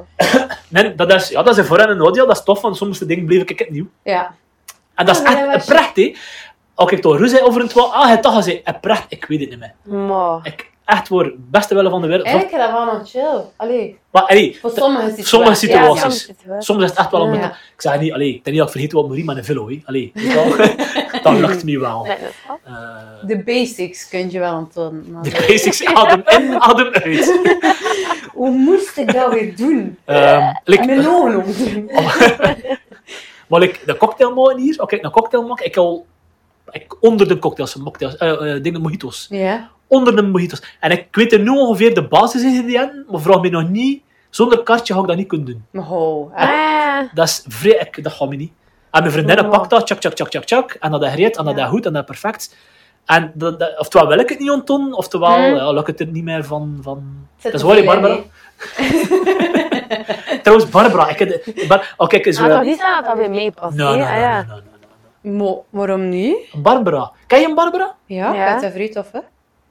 Nee, dat is, ja, dat is een voor- en een nadeel, dat is tof, want sommige dingen bleef ik het nieuw. Ja. En dat is Ah, echt dat was- pracht, hè. Als ik toch ruzie zei over een twaalf, ah, het dacht zei, eh, pracht, ik weet het niet meer. Maar. Ik, echt voor beste willen van de wereld. Eigenlijk is dat wel nog chill. Allee, Maar, allee, voor sommige situaties. sommige Ja, situaties. soms is het wel. Soms is het echt wel om het- Ja. Ik zeg niet, allee, ik denk niet dat ik vergeten wat Marie met een villo, hè. Allee, weet je wel. dat lukt me wel. Nee, dat is wel. Eh, De basics kun je wel ontwikkelen. maar de basics adem in, adem uit. Hoe moest ik dat weer doen? Ehm, like, Meloen omdoen. maar like, de cocktail maken hier, als ik een cocktail maak, ik al ik, onder de cocktails, mocktails, eh, eh, dingen, mojitos. Ja. Onder de mojitos. En ik weet er nu ongeveer de basisingrediënten, maar vraag me nog niet, zonder kaartje ga ik dat niet kunnen doen. Maar ho. hè. Ah, Dat is vrij, ik, dat gaat me niet. En mijn vriendinnen Oh. pakt dat, tjak, tjak, tjak, tjak, tjak, en dat is gereed, en dat is goed, en dat is perfect. En dat, dat- oftewel wil ik het niet ontdoen, oftewel Mm. ja, lukt het er niet meer van... van... Zit Dat is er waar, hè, veel in, Barbara. Trouwens, Barbara, ik heb... de- Bar- Oh, kijk eens... het eh, kan niet zijn Ah, dat dat weer meepast. Nee, nee, hè? nee, Ah, nee, ja. nee, nee, nee, nee. hè. Mo- waarom niet? Barbara. Ken je een Barbara? Ja, Ja. dat is vrij tof, hè?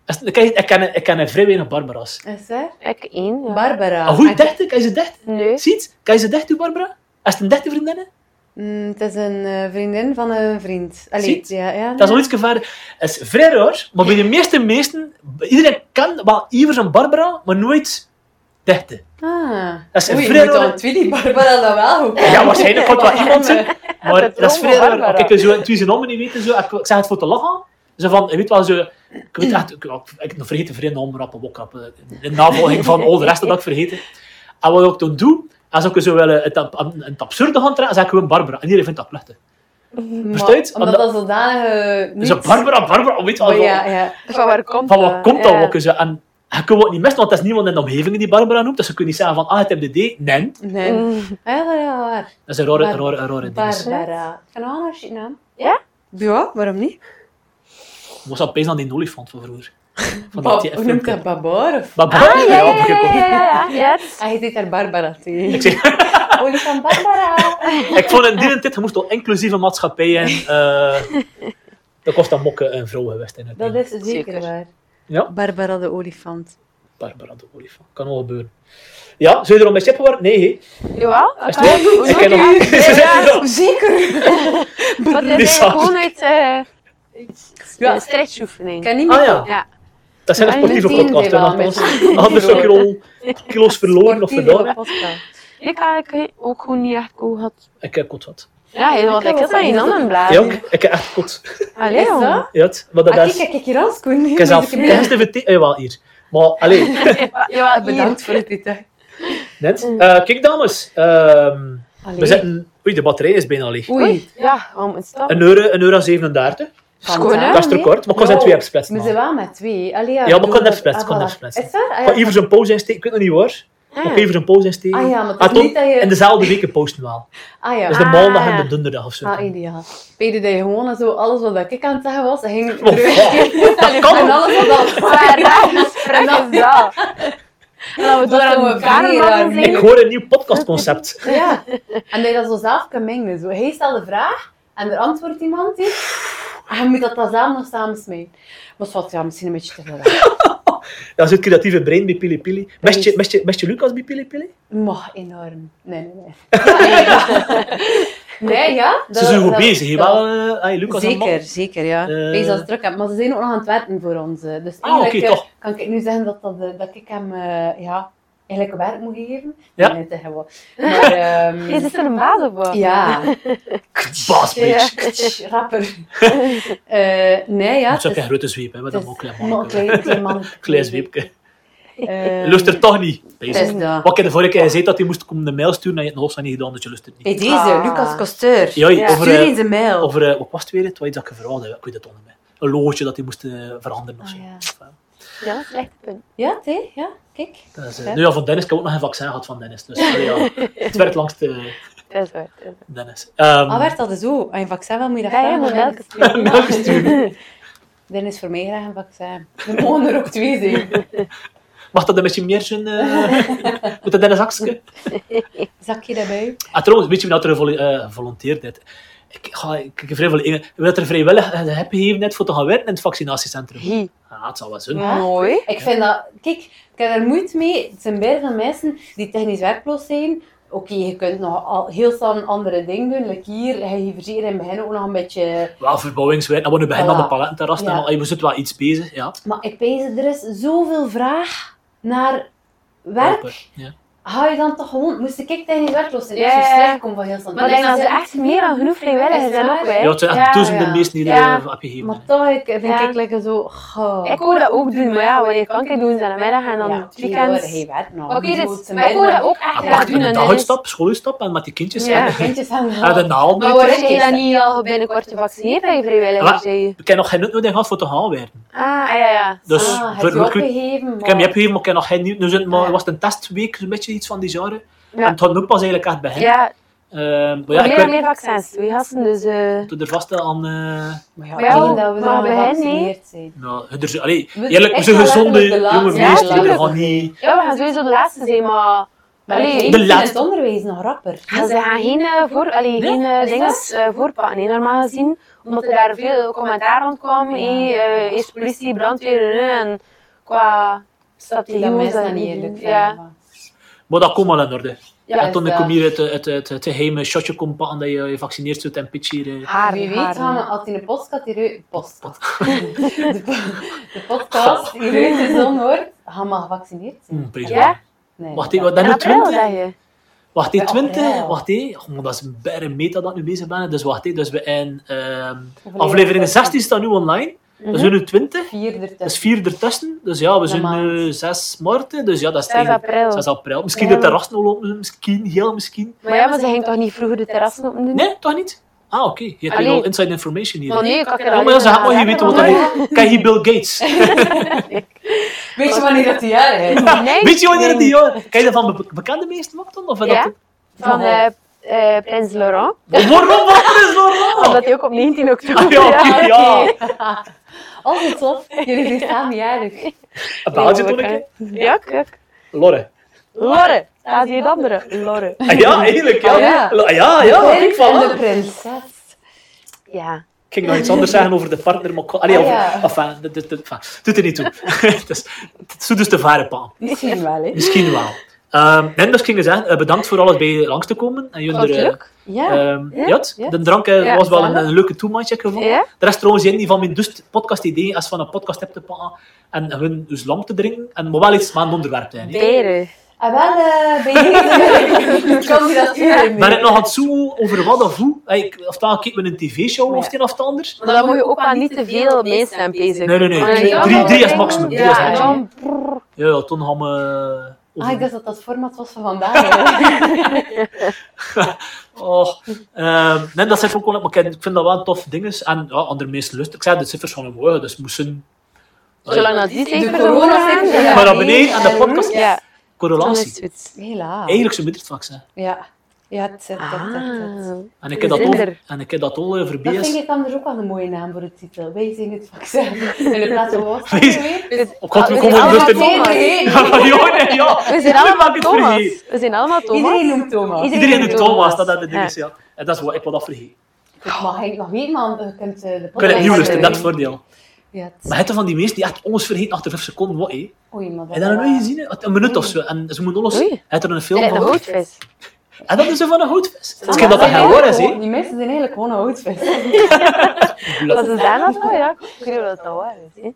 Is- Ik ken, ik ken, ik ken vrij weinig Barbara's. Is er? Ik één, ja. Barbara. Ah, hoe Ik- dicht? Kan je ze dicht? Nee. Ziet? Kan je ze dicht doen, Barbara? Is het een dichte vriendin? Mm, het is een eh, vriendin van een vriend. Allee, Ziet? Ja, ja, Dat is al iets gevaarlijk. Het is vrij raar, maar bij de meeste meesten... Iedereen kan wel Ivers en Barbara, maar nooit dichte. Ah. Dat is een Oei, je vrij moet rare- dan tweede Barbara dat wel goed Ja, waarschijnlijk komt wel iemand zijn. Maar Het dat is dromen vrij van raar. Barbara. Kijk, zo, toen ze namen niet weten, zo, ik, ik zeg het voor te lachen. Zo van, je weet wel, zo, ik weet echt, ik, ik, ik nog vergeten vrij namen, rappen, wokrappen. In navolging van al de rest dat ik vergeten. En wat ik toen doe, als ik zo wel eh, het, het, het absurde gaan trekken, dan zeg ik gewoon Barbara. En iedereen vindt dat plechtig. Versta je het? Omdat Omdat- dat zodanige... Zo niets- Barbara, Barbara, weet je wel. Oh, zo- ja, ja. Van waar komt Van wat dat? komt dat Ja. ook? eens, hè? En je kunt ook niet missen, want dat is niemand in de omgeving die Barbara noemt. Dus ze kunnen niet zeggen van, ah, het heb de D. Nee. Nee. Mm. Ah, ja, ja, waar. Dat is een rare, Bar- rare, rare ding. Barbara. Kan je anders je naam? Ja? Ja, waarom niet? Was dat opeens aan die olifant van vroeger? Van Ba- dat Hoe noemt dat? TF-filmpje. Babar? of- Barbara? Ah, ja, ja, ja, begrijp ja, ik ook. ja, ja, ja. Yes. Ah, je ziet daar Barbara tegen. Ik zeg- Olifant Barbara. Ik vond in die tijd, je moest al inclusieve maatschappij en eh dat kost dan mokken en vrouwen geweest. In het Dat ding. is zeker Zeker. waar. Ja, Barbara de olifant. Barbara de olifant. Kan wel gebeuren. Ja, zou je er al bij stippen worden? Nee, hè. Jawel. Is het wel? Hoe Ik noem ken je hem. het? Ze zegt het al. Zeker! Maar dit Die is zaal. eigenlijk gewoon uit... eh, Ja. eh, stretchoefening. Ik kan niet Ah, meer... ja. Ja. Ah, Dat zijn de Ja, sportieve meteen podcasts. hè, weer wel, want anders- meteen. Anders zou ik al kilo's verloren of verloren. Ik eigenlijk ook gewoon niet echt goed gehad. Ik heb kot wat. Ja, heel wat Ik heb lekker wat aan je van- handen Ja, blazen. ook. Ik heb echt kot. Allee, Is jongen. dat? Ja, het- maar dat Ah, is... kijk, kijk hier als Koen. Ik heb zelf... Ik heb even te- eh, wel hier. Maar, alleen, Jawel, Bedankt voor het detail. net. Mm. Eh, kijk, dames. ehm, we Allee. zitten... Oei, de batterij is bijna leeg. hier. Oei. Oei. Ja, waarom is dat? Een euro, een euro en 37. Schoon, hè? Dat is te Ah, nee. kort, maar ik kan zijn Ja. twee opsplitsen. We zijn wel met twee. Allee, ja, Ja, maar doe kon dat- even splitsen, ah, kon voilà. even splitsen. Is dat? Ah, Ik kan ja. even zo'n pauze insteken, ik weet nog niet hoor. Ah. Ik kan even een pauze insteken. Ah ja, maar het is toen- niet dat je... In dezelfde weken posten we wel. Ah ja. Dus de Ah, maandag en ja. de donderdag of zo. Ah, ideaal. Peter, dat je gewoon zo alles wat ik aan het zeggen was, ging Oh, terug. dat En kan! alles wat al... Waar dat gesprek is dat? En dan we door Dat aan we elkaar vier laten aan- Ik zien. hoor een nieuw podcastconcept. Ja. En dat je dat zo zelf kan mengen. Zo, hij stelt de vraag en er antwoordt iemand die. En je moet dat dan samen nog samen smijten. Maar wat, ja, misschien een beetje te veel. hè. Dat is het creatieve brein bij Pili Pili. Mest je, Precies. mest je, mest je Lucas bij Pili Pili? Maar enorm. Nee, nee, nee. Nee, ja. Ze zijn goed bezig, hè? wel. eh, hey, Lucas en Zeker, Matt. zeker, ja. Eh. Wees als druk hebben. Maar ze zijn ook nog aan het werken voor ons. eh. Dus Ah, oké, eigenlijk eh, toch. kan ik nu zeggen dat, dat, eh, dat ik hem eh, ja, eigenlijk werk moet geven. Ja. Nee, te hebben. Maar, ehm, Je zit er een baas op. hoor. ja, Baas, bitch. ja, rapper. Eh, nee, ja. Dat is ook het een is- grote zweep, hè? maar het dat is- moet ook een maar Dus, klein een klein- klein mannetje. Klein zweepje. Ehm, Je lust er toch niet. het Bezig. is dus dat. Wat ik de vorige keer zei dat hij moest komen de mail sturen en je hebt het nog steeds niet gedaan, dus je lust het niet. Bij deze, Ah. Lucas Costeur. Ja, Ja. over, eh, Stuur eens een mail. over eh, wat was het weer? Het was iets dat ik verhaald heb. Ik weet het onder mij. Een logootje dat hij moest eh, veranderen of Ah, zo. ja. Enfin, Ja, slecht punt. Ja, thee, ja, kijk. dat is, eh, Ja. nu ja, van Dennis, ik heb ook nog een vaccin gehad van Dennis. Dus allee, ja, het werd langs de Dat is waar. dat is waar. Dennis. Ehm, Al werd dat is zo. Een vaccin, wel moet je dat Ja, ja, vragen, maar hè? welke stuur? Melk sturen. Dan is voor mij graag een vaccin. Er mogen er ook twee zijn. Mag dat een beetje meer zijn? eh, met de Dennis Akske? Zakje daarbij. Ah, trouwens, weet je wie dat er vol- eh, gevolonteerd heeft? Ik ga ik, ik heb vrij veel dingen. Wie dat er vrijwillig eh, heb gegeven net voor te gaan werken in het vaccinatiecentrum? Hi. Ah, het zal wel zijn. Ja. Mooi. Ik vind dat... Kijk, ik heb er moeite mee. Het zijn bijna mensen die technisch werkloos zijn. Oké, je kunt nog al heel snel een andere ding doen. Like hier, je je verzekert in het begin ook nog een beetje... Wel, verbouwingswerk. Dan worden we beginnen Voilà. aan de palettenterras. Ja. Ja. Je zit wel iets bezig. Ja. Maar ik weet er is zoveel vraag naar werk. Helper, Ja. Ga je dan toch gewoon... Moest ik technisch werkloos zijn? Ja, Dat is zo ja, ja. slecht, kom van heel snel. Maar ik denk dat ze echt meer dan genoeg vrijwilligers zijn ook, hè. ja, het zijn echt Ja, duizenden ja. mensen die Ja. er eh, heb gegeven. Maar toch ik, vind Ja. ik lekker zo... goh. Ik wou dat ook doen, maar ja, wanneer kan ik het doen? Ze aan de middag en dan Ja, dus het twee weekend. uur, Hij werkt nog. Oké, Die doet dit, zijn maar ik wou best. dat ook echt Ah, graag wacht, doen. dus- een en dat is- daguitstap, schooluitstap en met die kindjes. Ja. Ja. De kindjes aan de Ja, de naald. Maar nooit. waarom je dan niet al binnenkort gevaccineerd bij je Ah. vrijwilliger, zei je? Ik heb nog geen nut nodig gehad voor te gaan werken. Ah, ja, ja. Dus ah, voor heb je recruit- opgegeven, maar... Ik heb je opgegeven, maar ik heb nog geen nieuw. Nu zijn- maar Ah, ja. was het een testweek, een beetje iets van die genre. Ja. En het had nu pas eigenlijk echt beginnen. Ja, Ehm, maar ja, meer ik en werd meer vaccins. Twee gasten, dus... eh, toen er vast aan. eh Maar ja, Maar ja, één, dat we maar dan bij hen niet. gevaccineerd zijn. nou, er, zijn- allee, We- eerlijk, we echt zijn wel gezonde letterlijk de jonge laatste- Ja, meesten die er tuurlijk. gewoon niet. Ja, we gaan sowieso de laatste zijn, maar... Maar Allee, ik de vind laatste- het onderwijs nog rapper. Ja, ze gaan geen, eh, voor, allee, Nee, geen eh, is dingen eh, voorpakken, hè, normaal gezien. Omdat er daar veel commentaar rond kwam. Ja. hè, eh, eerst politie, brandweer eh, en qua Die strategie. dat hoe mensen ze dat niet doen. eerlijk Ja. vinden. Maar dat komt wel in orde. Ja, dus, en toen is ik dat. kom hier het, het, het, het geheime shotje komt pakken dat je je gevaccineerd zit en pitch hier. eh, Haar, Wie weet haar. gaan we als in de podcast hieruit... Podcast. de, po- de podcast hieruit gezond wordt, gaan we gevaccineerd zijn. mm, prijs Ja? wel. Nee, Wacht dat- even, wat In dan nu april, 20? zeg je? Wacht even, Ja, 20? april. Wacht even. Oh, maar dat is een bare meta dat ik nu bezig ben. Dus wacht even, dus we in ehm Hoeveel aflevering jaar- 16 staat nu online. We Mhm. zijn nu 20. Vier Dat is ertussen. vier ertussen. Dus ja, we zijn maand. nu 6 maart. Dus ja, dat is 6 tegen april. 6 april. Misschien Ja. de terras nog lopen, misschien, heel misschien. Maar ja, maar ze ging toch niet vroeger de terrassen op doen? Nee, toch niet? Ah, oké. Je hebt Allee. hier al inside information hier. Maar nee, ik had er Oh, al maar ja, ze in gaat maar gedaan. niet weten wat dat is. Kijk hier Bill Gates. Dus Weet je wanneer dat die jaar is? Nee, Weet je wanneer nee. die joh? Kijk je dat van be- bekende meesten op dan? Of Ja. dat... Van eh eh, Prins Laurent. Waarom? Wat is normaal? Omdat hij ook op 19 Ah, oktober... ja, oké, ja. Oh, wat tof. Jullie zijn samen jarig. Een België Ja, toen ik. Ja, kijk. Lorre. Lorre. Staat hier de andere? Lorre. Ah, ja, eigenlijk. Ja, Ah, ja, ja. ja. ja ik Prins en de van. prinses. Ja. Ik ging nog iets anders zeggen over de partner. Maar... ik kon- Allee, Ah, over... eh, ja. enfin, dit- dit- dit- enfin, doet er niet toe. het, is, het is dus de varen paan. Misschien wel, hè? Misschien wel. Ehm en dus ik ging zeggen, eh, bedankt voor alles bij je langs te komen. En jullie Wat er, eh, leuk. Ja. Ehm, Ja, Jot, ja. de drank eh, Ja, was wel een, zalig. een leuke toemaatje gevonden. Ja? Er is trouwens een die van mijn dus podcast idee als van een podcast hebt te pakken en hun dus lang te drinken, en, maar wel iets maar een onderwerp zijn. hè. Beren. En wel, eh, bij deze kandidatuur Ben mee. ik nog aan het zo over wat of hoe? Hey, ik- Oftewel kijken we een tv-show of het een of het ander. Maar dan moet je ook aan niet te veel mensen aan bezig. Nee, nee, nee. Maar Drie- ja, drie- drie is ja, maximum, drie ja, is maximum. dan- Ja, ja toen gaan we... eh, Ah, ik dacht dat dat het format was van vandaag. hè. Oh, ehm, nee, dat zijn ook wel... Maar ik ik vind dat wel tof dinges. En ja, andere mensen lusten. Ik zei, de cijfers gaan omhoog, dus moesten... Zolang dat die De zeker corona doorgaan, Maar naar beneden en de podcast. Ja, dan is Correlatie. het goed. Helaas. Eigenlijk zo'n beetje het vaccin. Ja. Ja, het zit, dat, dat, dat. Ah. En ik heb dat al, Zinder. en ik heb dat al eh, Dat verbeest. vind ik anders ook wel een mooie naam voor de titel. Wij zien het vaccin. In de plaats van Oh, wat was het weer? Op God, we Ah, komen we dus zijn in... allemaal Iedereen- Ja, ja, nee, ja. We zijn Iedereen maakt allemaal het Thomas. vergeten. We zijn allemaal Thomas. Iedereen noemt Thomas. Iedereen Iedereen doet doet Thomas, Thomas. dat dat de ding Ja. is, ja. En dat is wat ik wil dat vergeten. Dat mag ik nog niet, man. Je kunt eh, de Ik ben het nieuw lusten, dat is het voor. voordeel. Ja, het is- Maar het is van die mensen die echt ons vergeten achter 5 seconden, wat hé. Oei, maar En dan hebben we gezien, hè, een minuut of zo. En ze moeten alles... Oei. Hij er een film Lijkt een van. houtvis. En dat is zo van een houtfest. Het is geen dat Ah, dat geen woord is, hè. Die mensen zijn eigenlijk gewoon een houtvis. Was het daarna zo? Ja, ik weet niet of dat nou waar is. hè.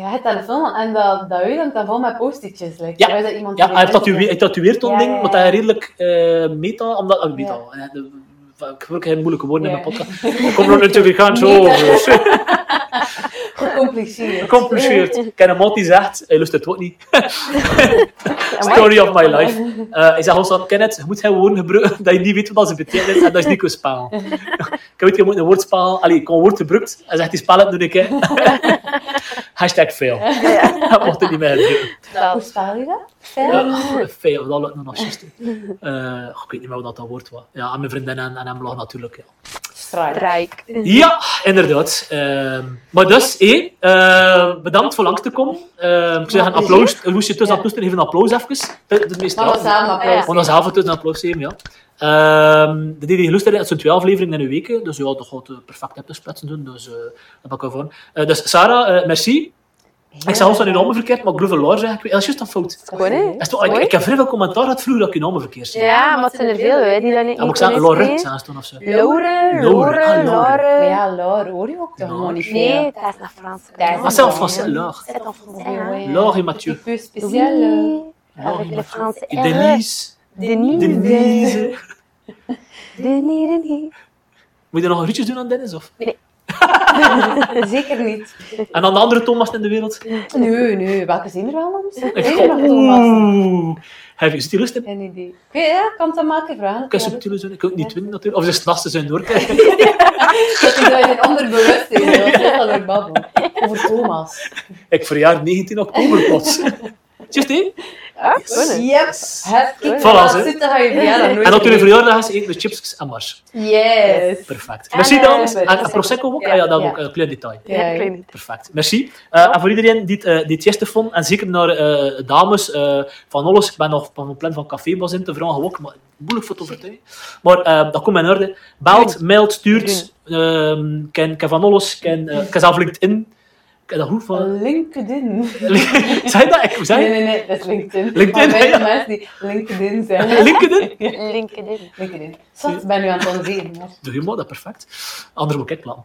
Ja, het aan de film. En dat, dat u dan vol met post-itjes ligt. Ja. Terwijl dat iemand Ja, die hij mensen- tatoeëert, hij tatoeëert dat Ja, ding, ja, want hij ja. is redelijk eh, meta, omdat... ah, meta. eh, de- Ik gebruik geen moeilijke woorden in Ja. mijn podcast. Ik kom er natuurlijk gaan zo... dus. Gecompliceerd. Gecompliceerd. Ik ken een man die zegt, hij lust het ook niet. Story of my life. Eh, hij zegt ons dan, ken het, je moet geen woorden gebruiken dat je niet weet wat ze betekenen en dat is niet kunnen spelen. ik weet, je moet een woord spelen, allee, ik heb een woord gebruikt, hij zegt, die spel het nu een keer. Hashtag fail. Dat mocht het niet meer gebruiken. Hoe spel je dat? Fel? Ja, fail, dat lukt nog nog juist. Eh, ik weet niet meer wat dat woord was. Ja, en mijn vriendin en, en hem lag natuurlijk. Ja. Strike. Rijk. Ja, inderdaad. Ehm, maar dus, hé, eh, bedankt voor langs te komen. Ehm, ik zou zeggen, plezier. applaus. Eh, Moest je tussen Ja. applaus geven, een applaus even. De, de meeste, Maar we samen applaus. Van onszelf tussen een applaus geven, ja. Ehm de die die gelust hebben, het zijn twee afleveringen in een week. Dus ja, dat gaat eh, perfect op te splitsen doen. Dus eh dat pak ik ervan. Eh, dus Sarah, eh, merci. Ik zei ons van je namen verkeerd, maar ik geloof Laura zeggen. Ik weet- Dat is juist een fout. Gewoon, hè? Is toch- ik, Mooi. ik heb vrij veel commentaar gehad vroeger dat ik je namen verkeerd zei. Ja, maar het zijn er veel, hè, die dan niet Dan moet ik niet zeggen, kunnen Laura, spreken. zeggen ze toen of zo. Lore, Lore, ah, Lore. Lore, Maar Lore. ja, Laura, hoor je ook toch gewoon niet veel? Nee, dat is naar Frans. Daar is Maar het Ah, zelf wel, was hè. Laura. C'est en français, Ja, hein. ja. Laure et Mathieu. Un petit peu spécial. euh, Oui, avec Laure et le Mathieu. français. Denise. Denis. Denise. Denis, Denis. Moet je nog groetjes doen aan Dennis? Of? eh, Zeker niet. En aan de andere Thomas in de wereld? Nee, nee. Welke zijn er wel anders? Ik Zijn er nog Thomas? Oeh. Heb je zit die lust in? Geen idee. Ik weet, ja, kan te maken vragen. Ik kan Ja, ze dat natuurlijk doen. Ik kan het niet winnen natuurlijk. Of ze s'nachts zijn door. dat is wel een onderbewustzijn. Dat is echt al weer babbel. Over Thomas. ik verjaar 19 oktober plots. Just hé? Ah, Şey, kunnen. Yes. Heb ik Voilà, voilà, ze. zitten, ga je verjaardag nooit En dat jullie vergeten. verjaardag is eten met chips en mars. Yes. Perfect. En, Merci eh, dames. we- En Prosecco ook? Ja, Ah ja, dat ja. ook. Een klein detail. Ja, ik weet Kijk. niet. Perfect. Merci. Eh, en voor iedereen die het, eh, die het gisteren vond, en zeker naar eh, dames eh, van alles, ik ben nog van plan van cafébas in te vragen ook, maar moeilijk voor te overtuigen. Maar eh, dat komt in orde. Belt, mailt, stuurt, ehm, ken, ken van alles, ken, eh, ken zelf LinkedIn. Ken dat goed van... LinkedIn. zei dat? Ik zei Oh. Nee, nee, nee, dat is LinkedIn. LinkedIn, Maar ja. mensen, mensen die LinkedIn zijn. LinkedIn? LinkedIn. LinkedIn. Zat, ik ben nu aan het onderzeven. maar- Doe je maar, dat is perfect. Anders moet ik plan.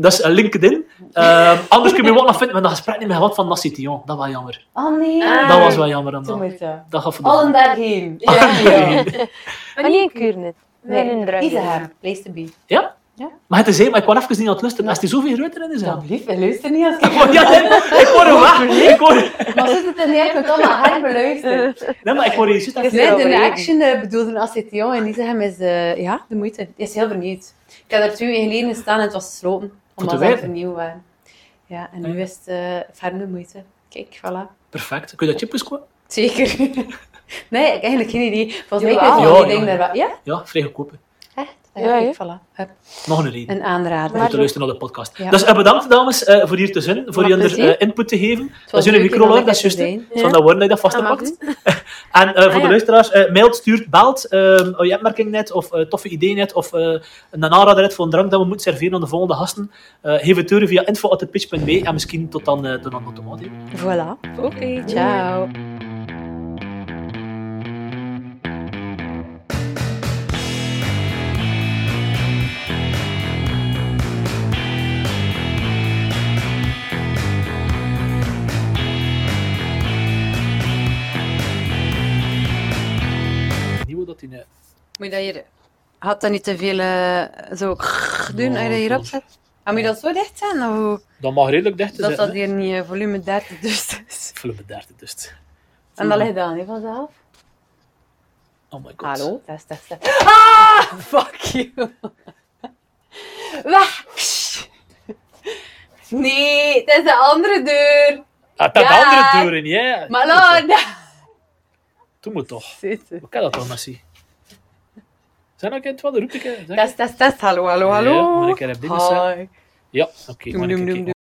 dat is eh, LinkedIn. Ehm, anders kun je me ook nog vinden, maar dat gesprek niet meer gehad van Nassi Tion. Dat was jammer. Oh nee. Ah. Dat was wel jammer dan Toen dat. met jou. Dat gaf Allen daarheen. Ja, ja. Hani Hani Maar niet in Kuurne. Nee, in Druinen. Izehaar, place to be. Ja? Ja. Maar het is hé, maar ik wou even niet aan het lusten. Als die zoveel groter in de zaal. Alsjeblieft, en luister niet als Ja, ik... nee, ik word er waar. Ik word, Maar zo zit het niet, ik kan het allemaal herbeluisteren. nee, maar ik word hier zitten. Het is Nee, wel de leuk. action eh, bedoelde als het jong en Isegem is eh, ja, de moeite. Die is heel vernieuwd. Ik heb er twee weken geleden gestaan en het was gesloten. Omdat te ze aan het weten. vernieuwen waren. Ja, en Ja. nu is het eh, ver de moeite. Kijk, voilà. Perfect. Kun je dat chipjes kopen? Zeker. nee, ik heb eigenlijk geen idee. Volgens mij Jawel. kun je Ja, wel die dingen ja. daar wel... Ja? Ja, vrij goedkoop. hè. Echt? Ja, Ja, kijk, voilà. Hup. Nog een reden. Een om aanrader. te luisteren naar de podcast. Ja. Dus eh, bedankt dames eh, voor hier te zijn, voor Met jullie plezier. er, eh, input te geven. Het Dat was is jullie leuk om microloog, lekker dat is te juist. hè. zijn. Ah, Van dat woord dat je dat Dat mag vastgepakt. En eh, voor Ah, de ja. luisteraars, eh, mailt, stuurt, belt, eh, oh, je opmerking net, of eh, toffe idee net, of eh, een aanrader net voor een drank dat we moeten serveren aan de volgende gasten. Eh geef het door via info.pitch.be en misschien tot dan, eh tot dan tot de maand, hè. Voilà. Oké, Ciao. Nieuwe dat in, eh, Moet je dat hier... Had dat niet te veel eh, zo doen als je dat hierop zet? Ah, moet je dat zo dicht zijn? Of hoe? dat mag redelijk dicht Dat zijn. dat hier niet eh, volume 30 dus is. Vullen we daar dus. En dat ligt dan niet vanzelf. Oh my god. Hallo? Test, test, test. Ah! Fuck you. Weg! Nee, het is de andere deur. Ah, dat Ja. andere deuren, ja. Maar laat. Toen moet toch. Zitten. Wat kan dat dan, Massie? Zijn dat kind van de roep ik? hè. Zeg. Test, test, test. Hallo, hallo, Ja, hallo. maar ik heb dit niet zo. Hi. Ja, oké. maar Doem, ik doem, doem, kijk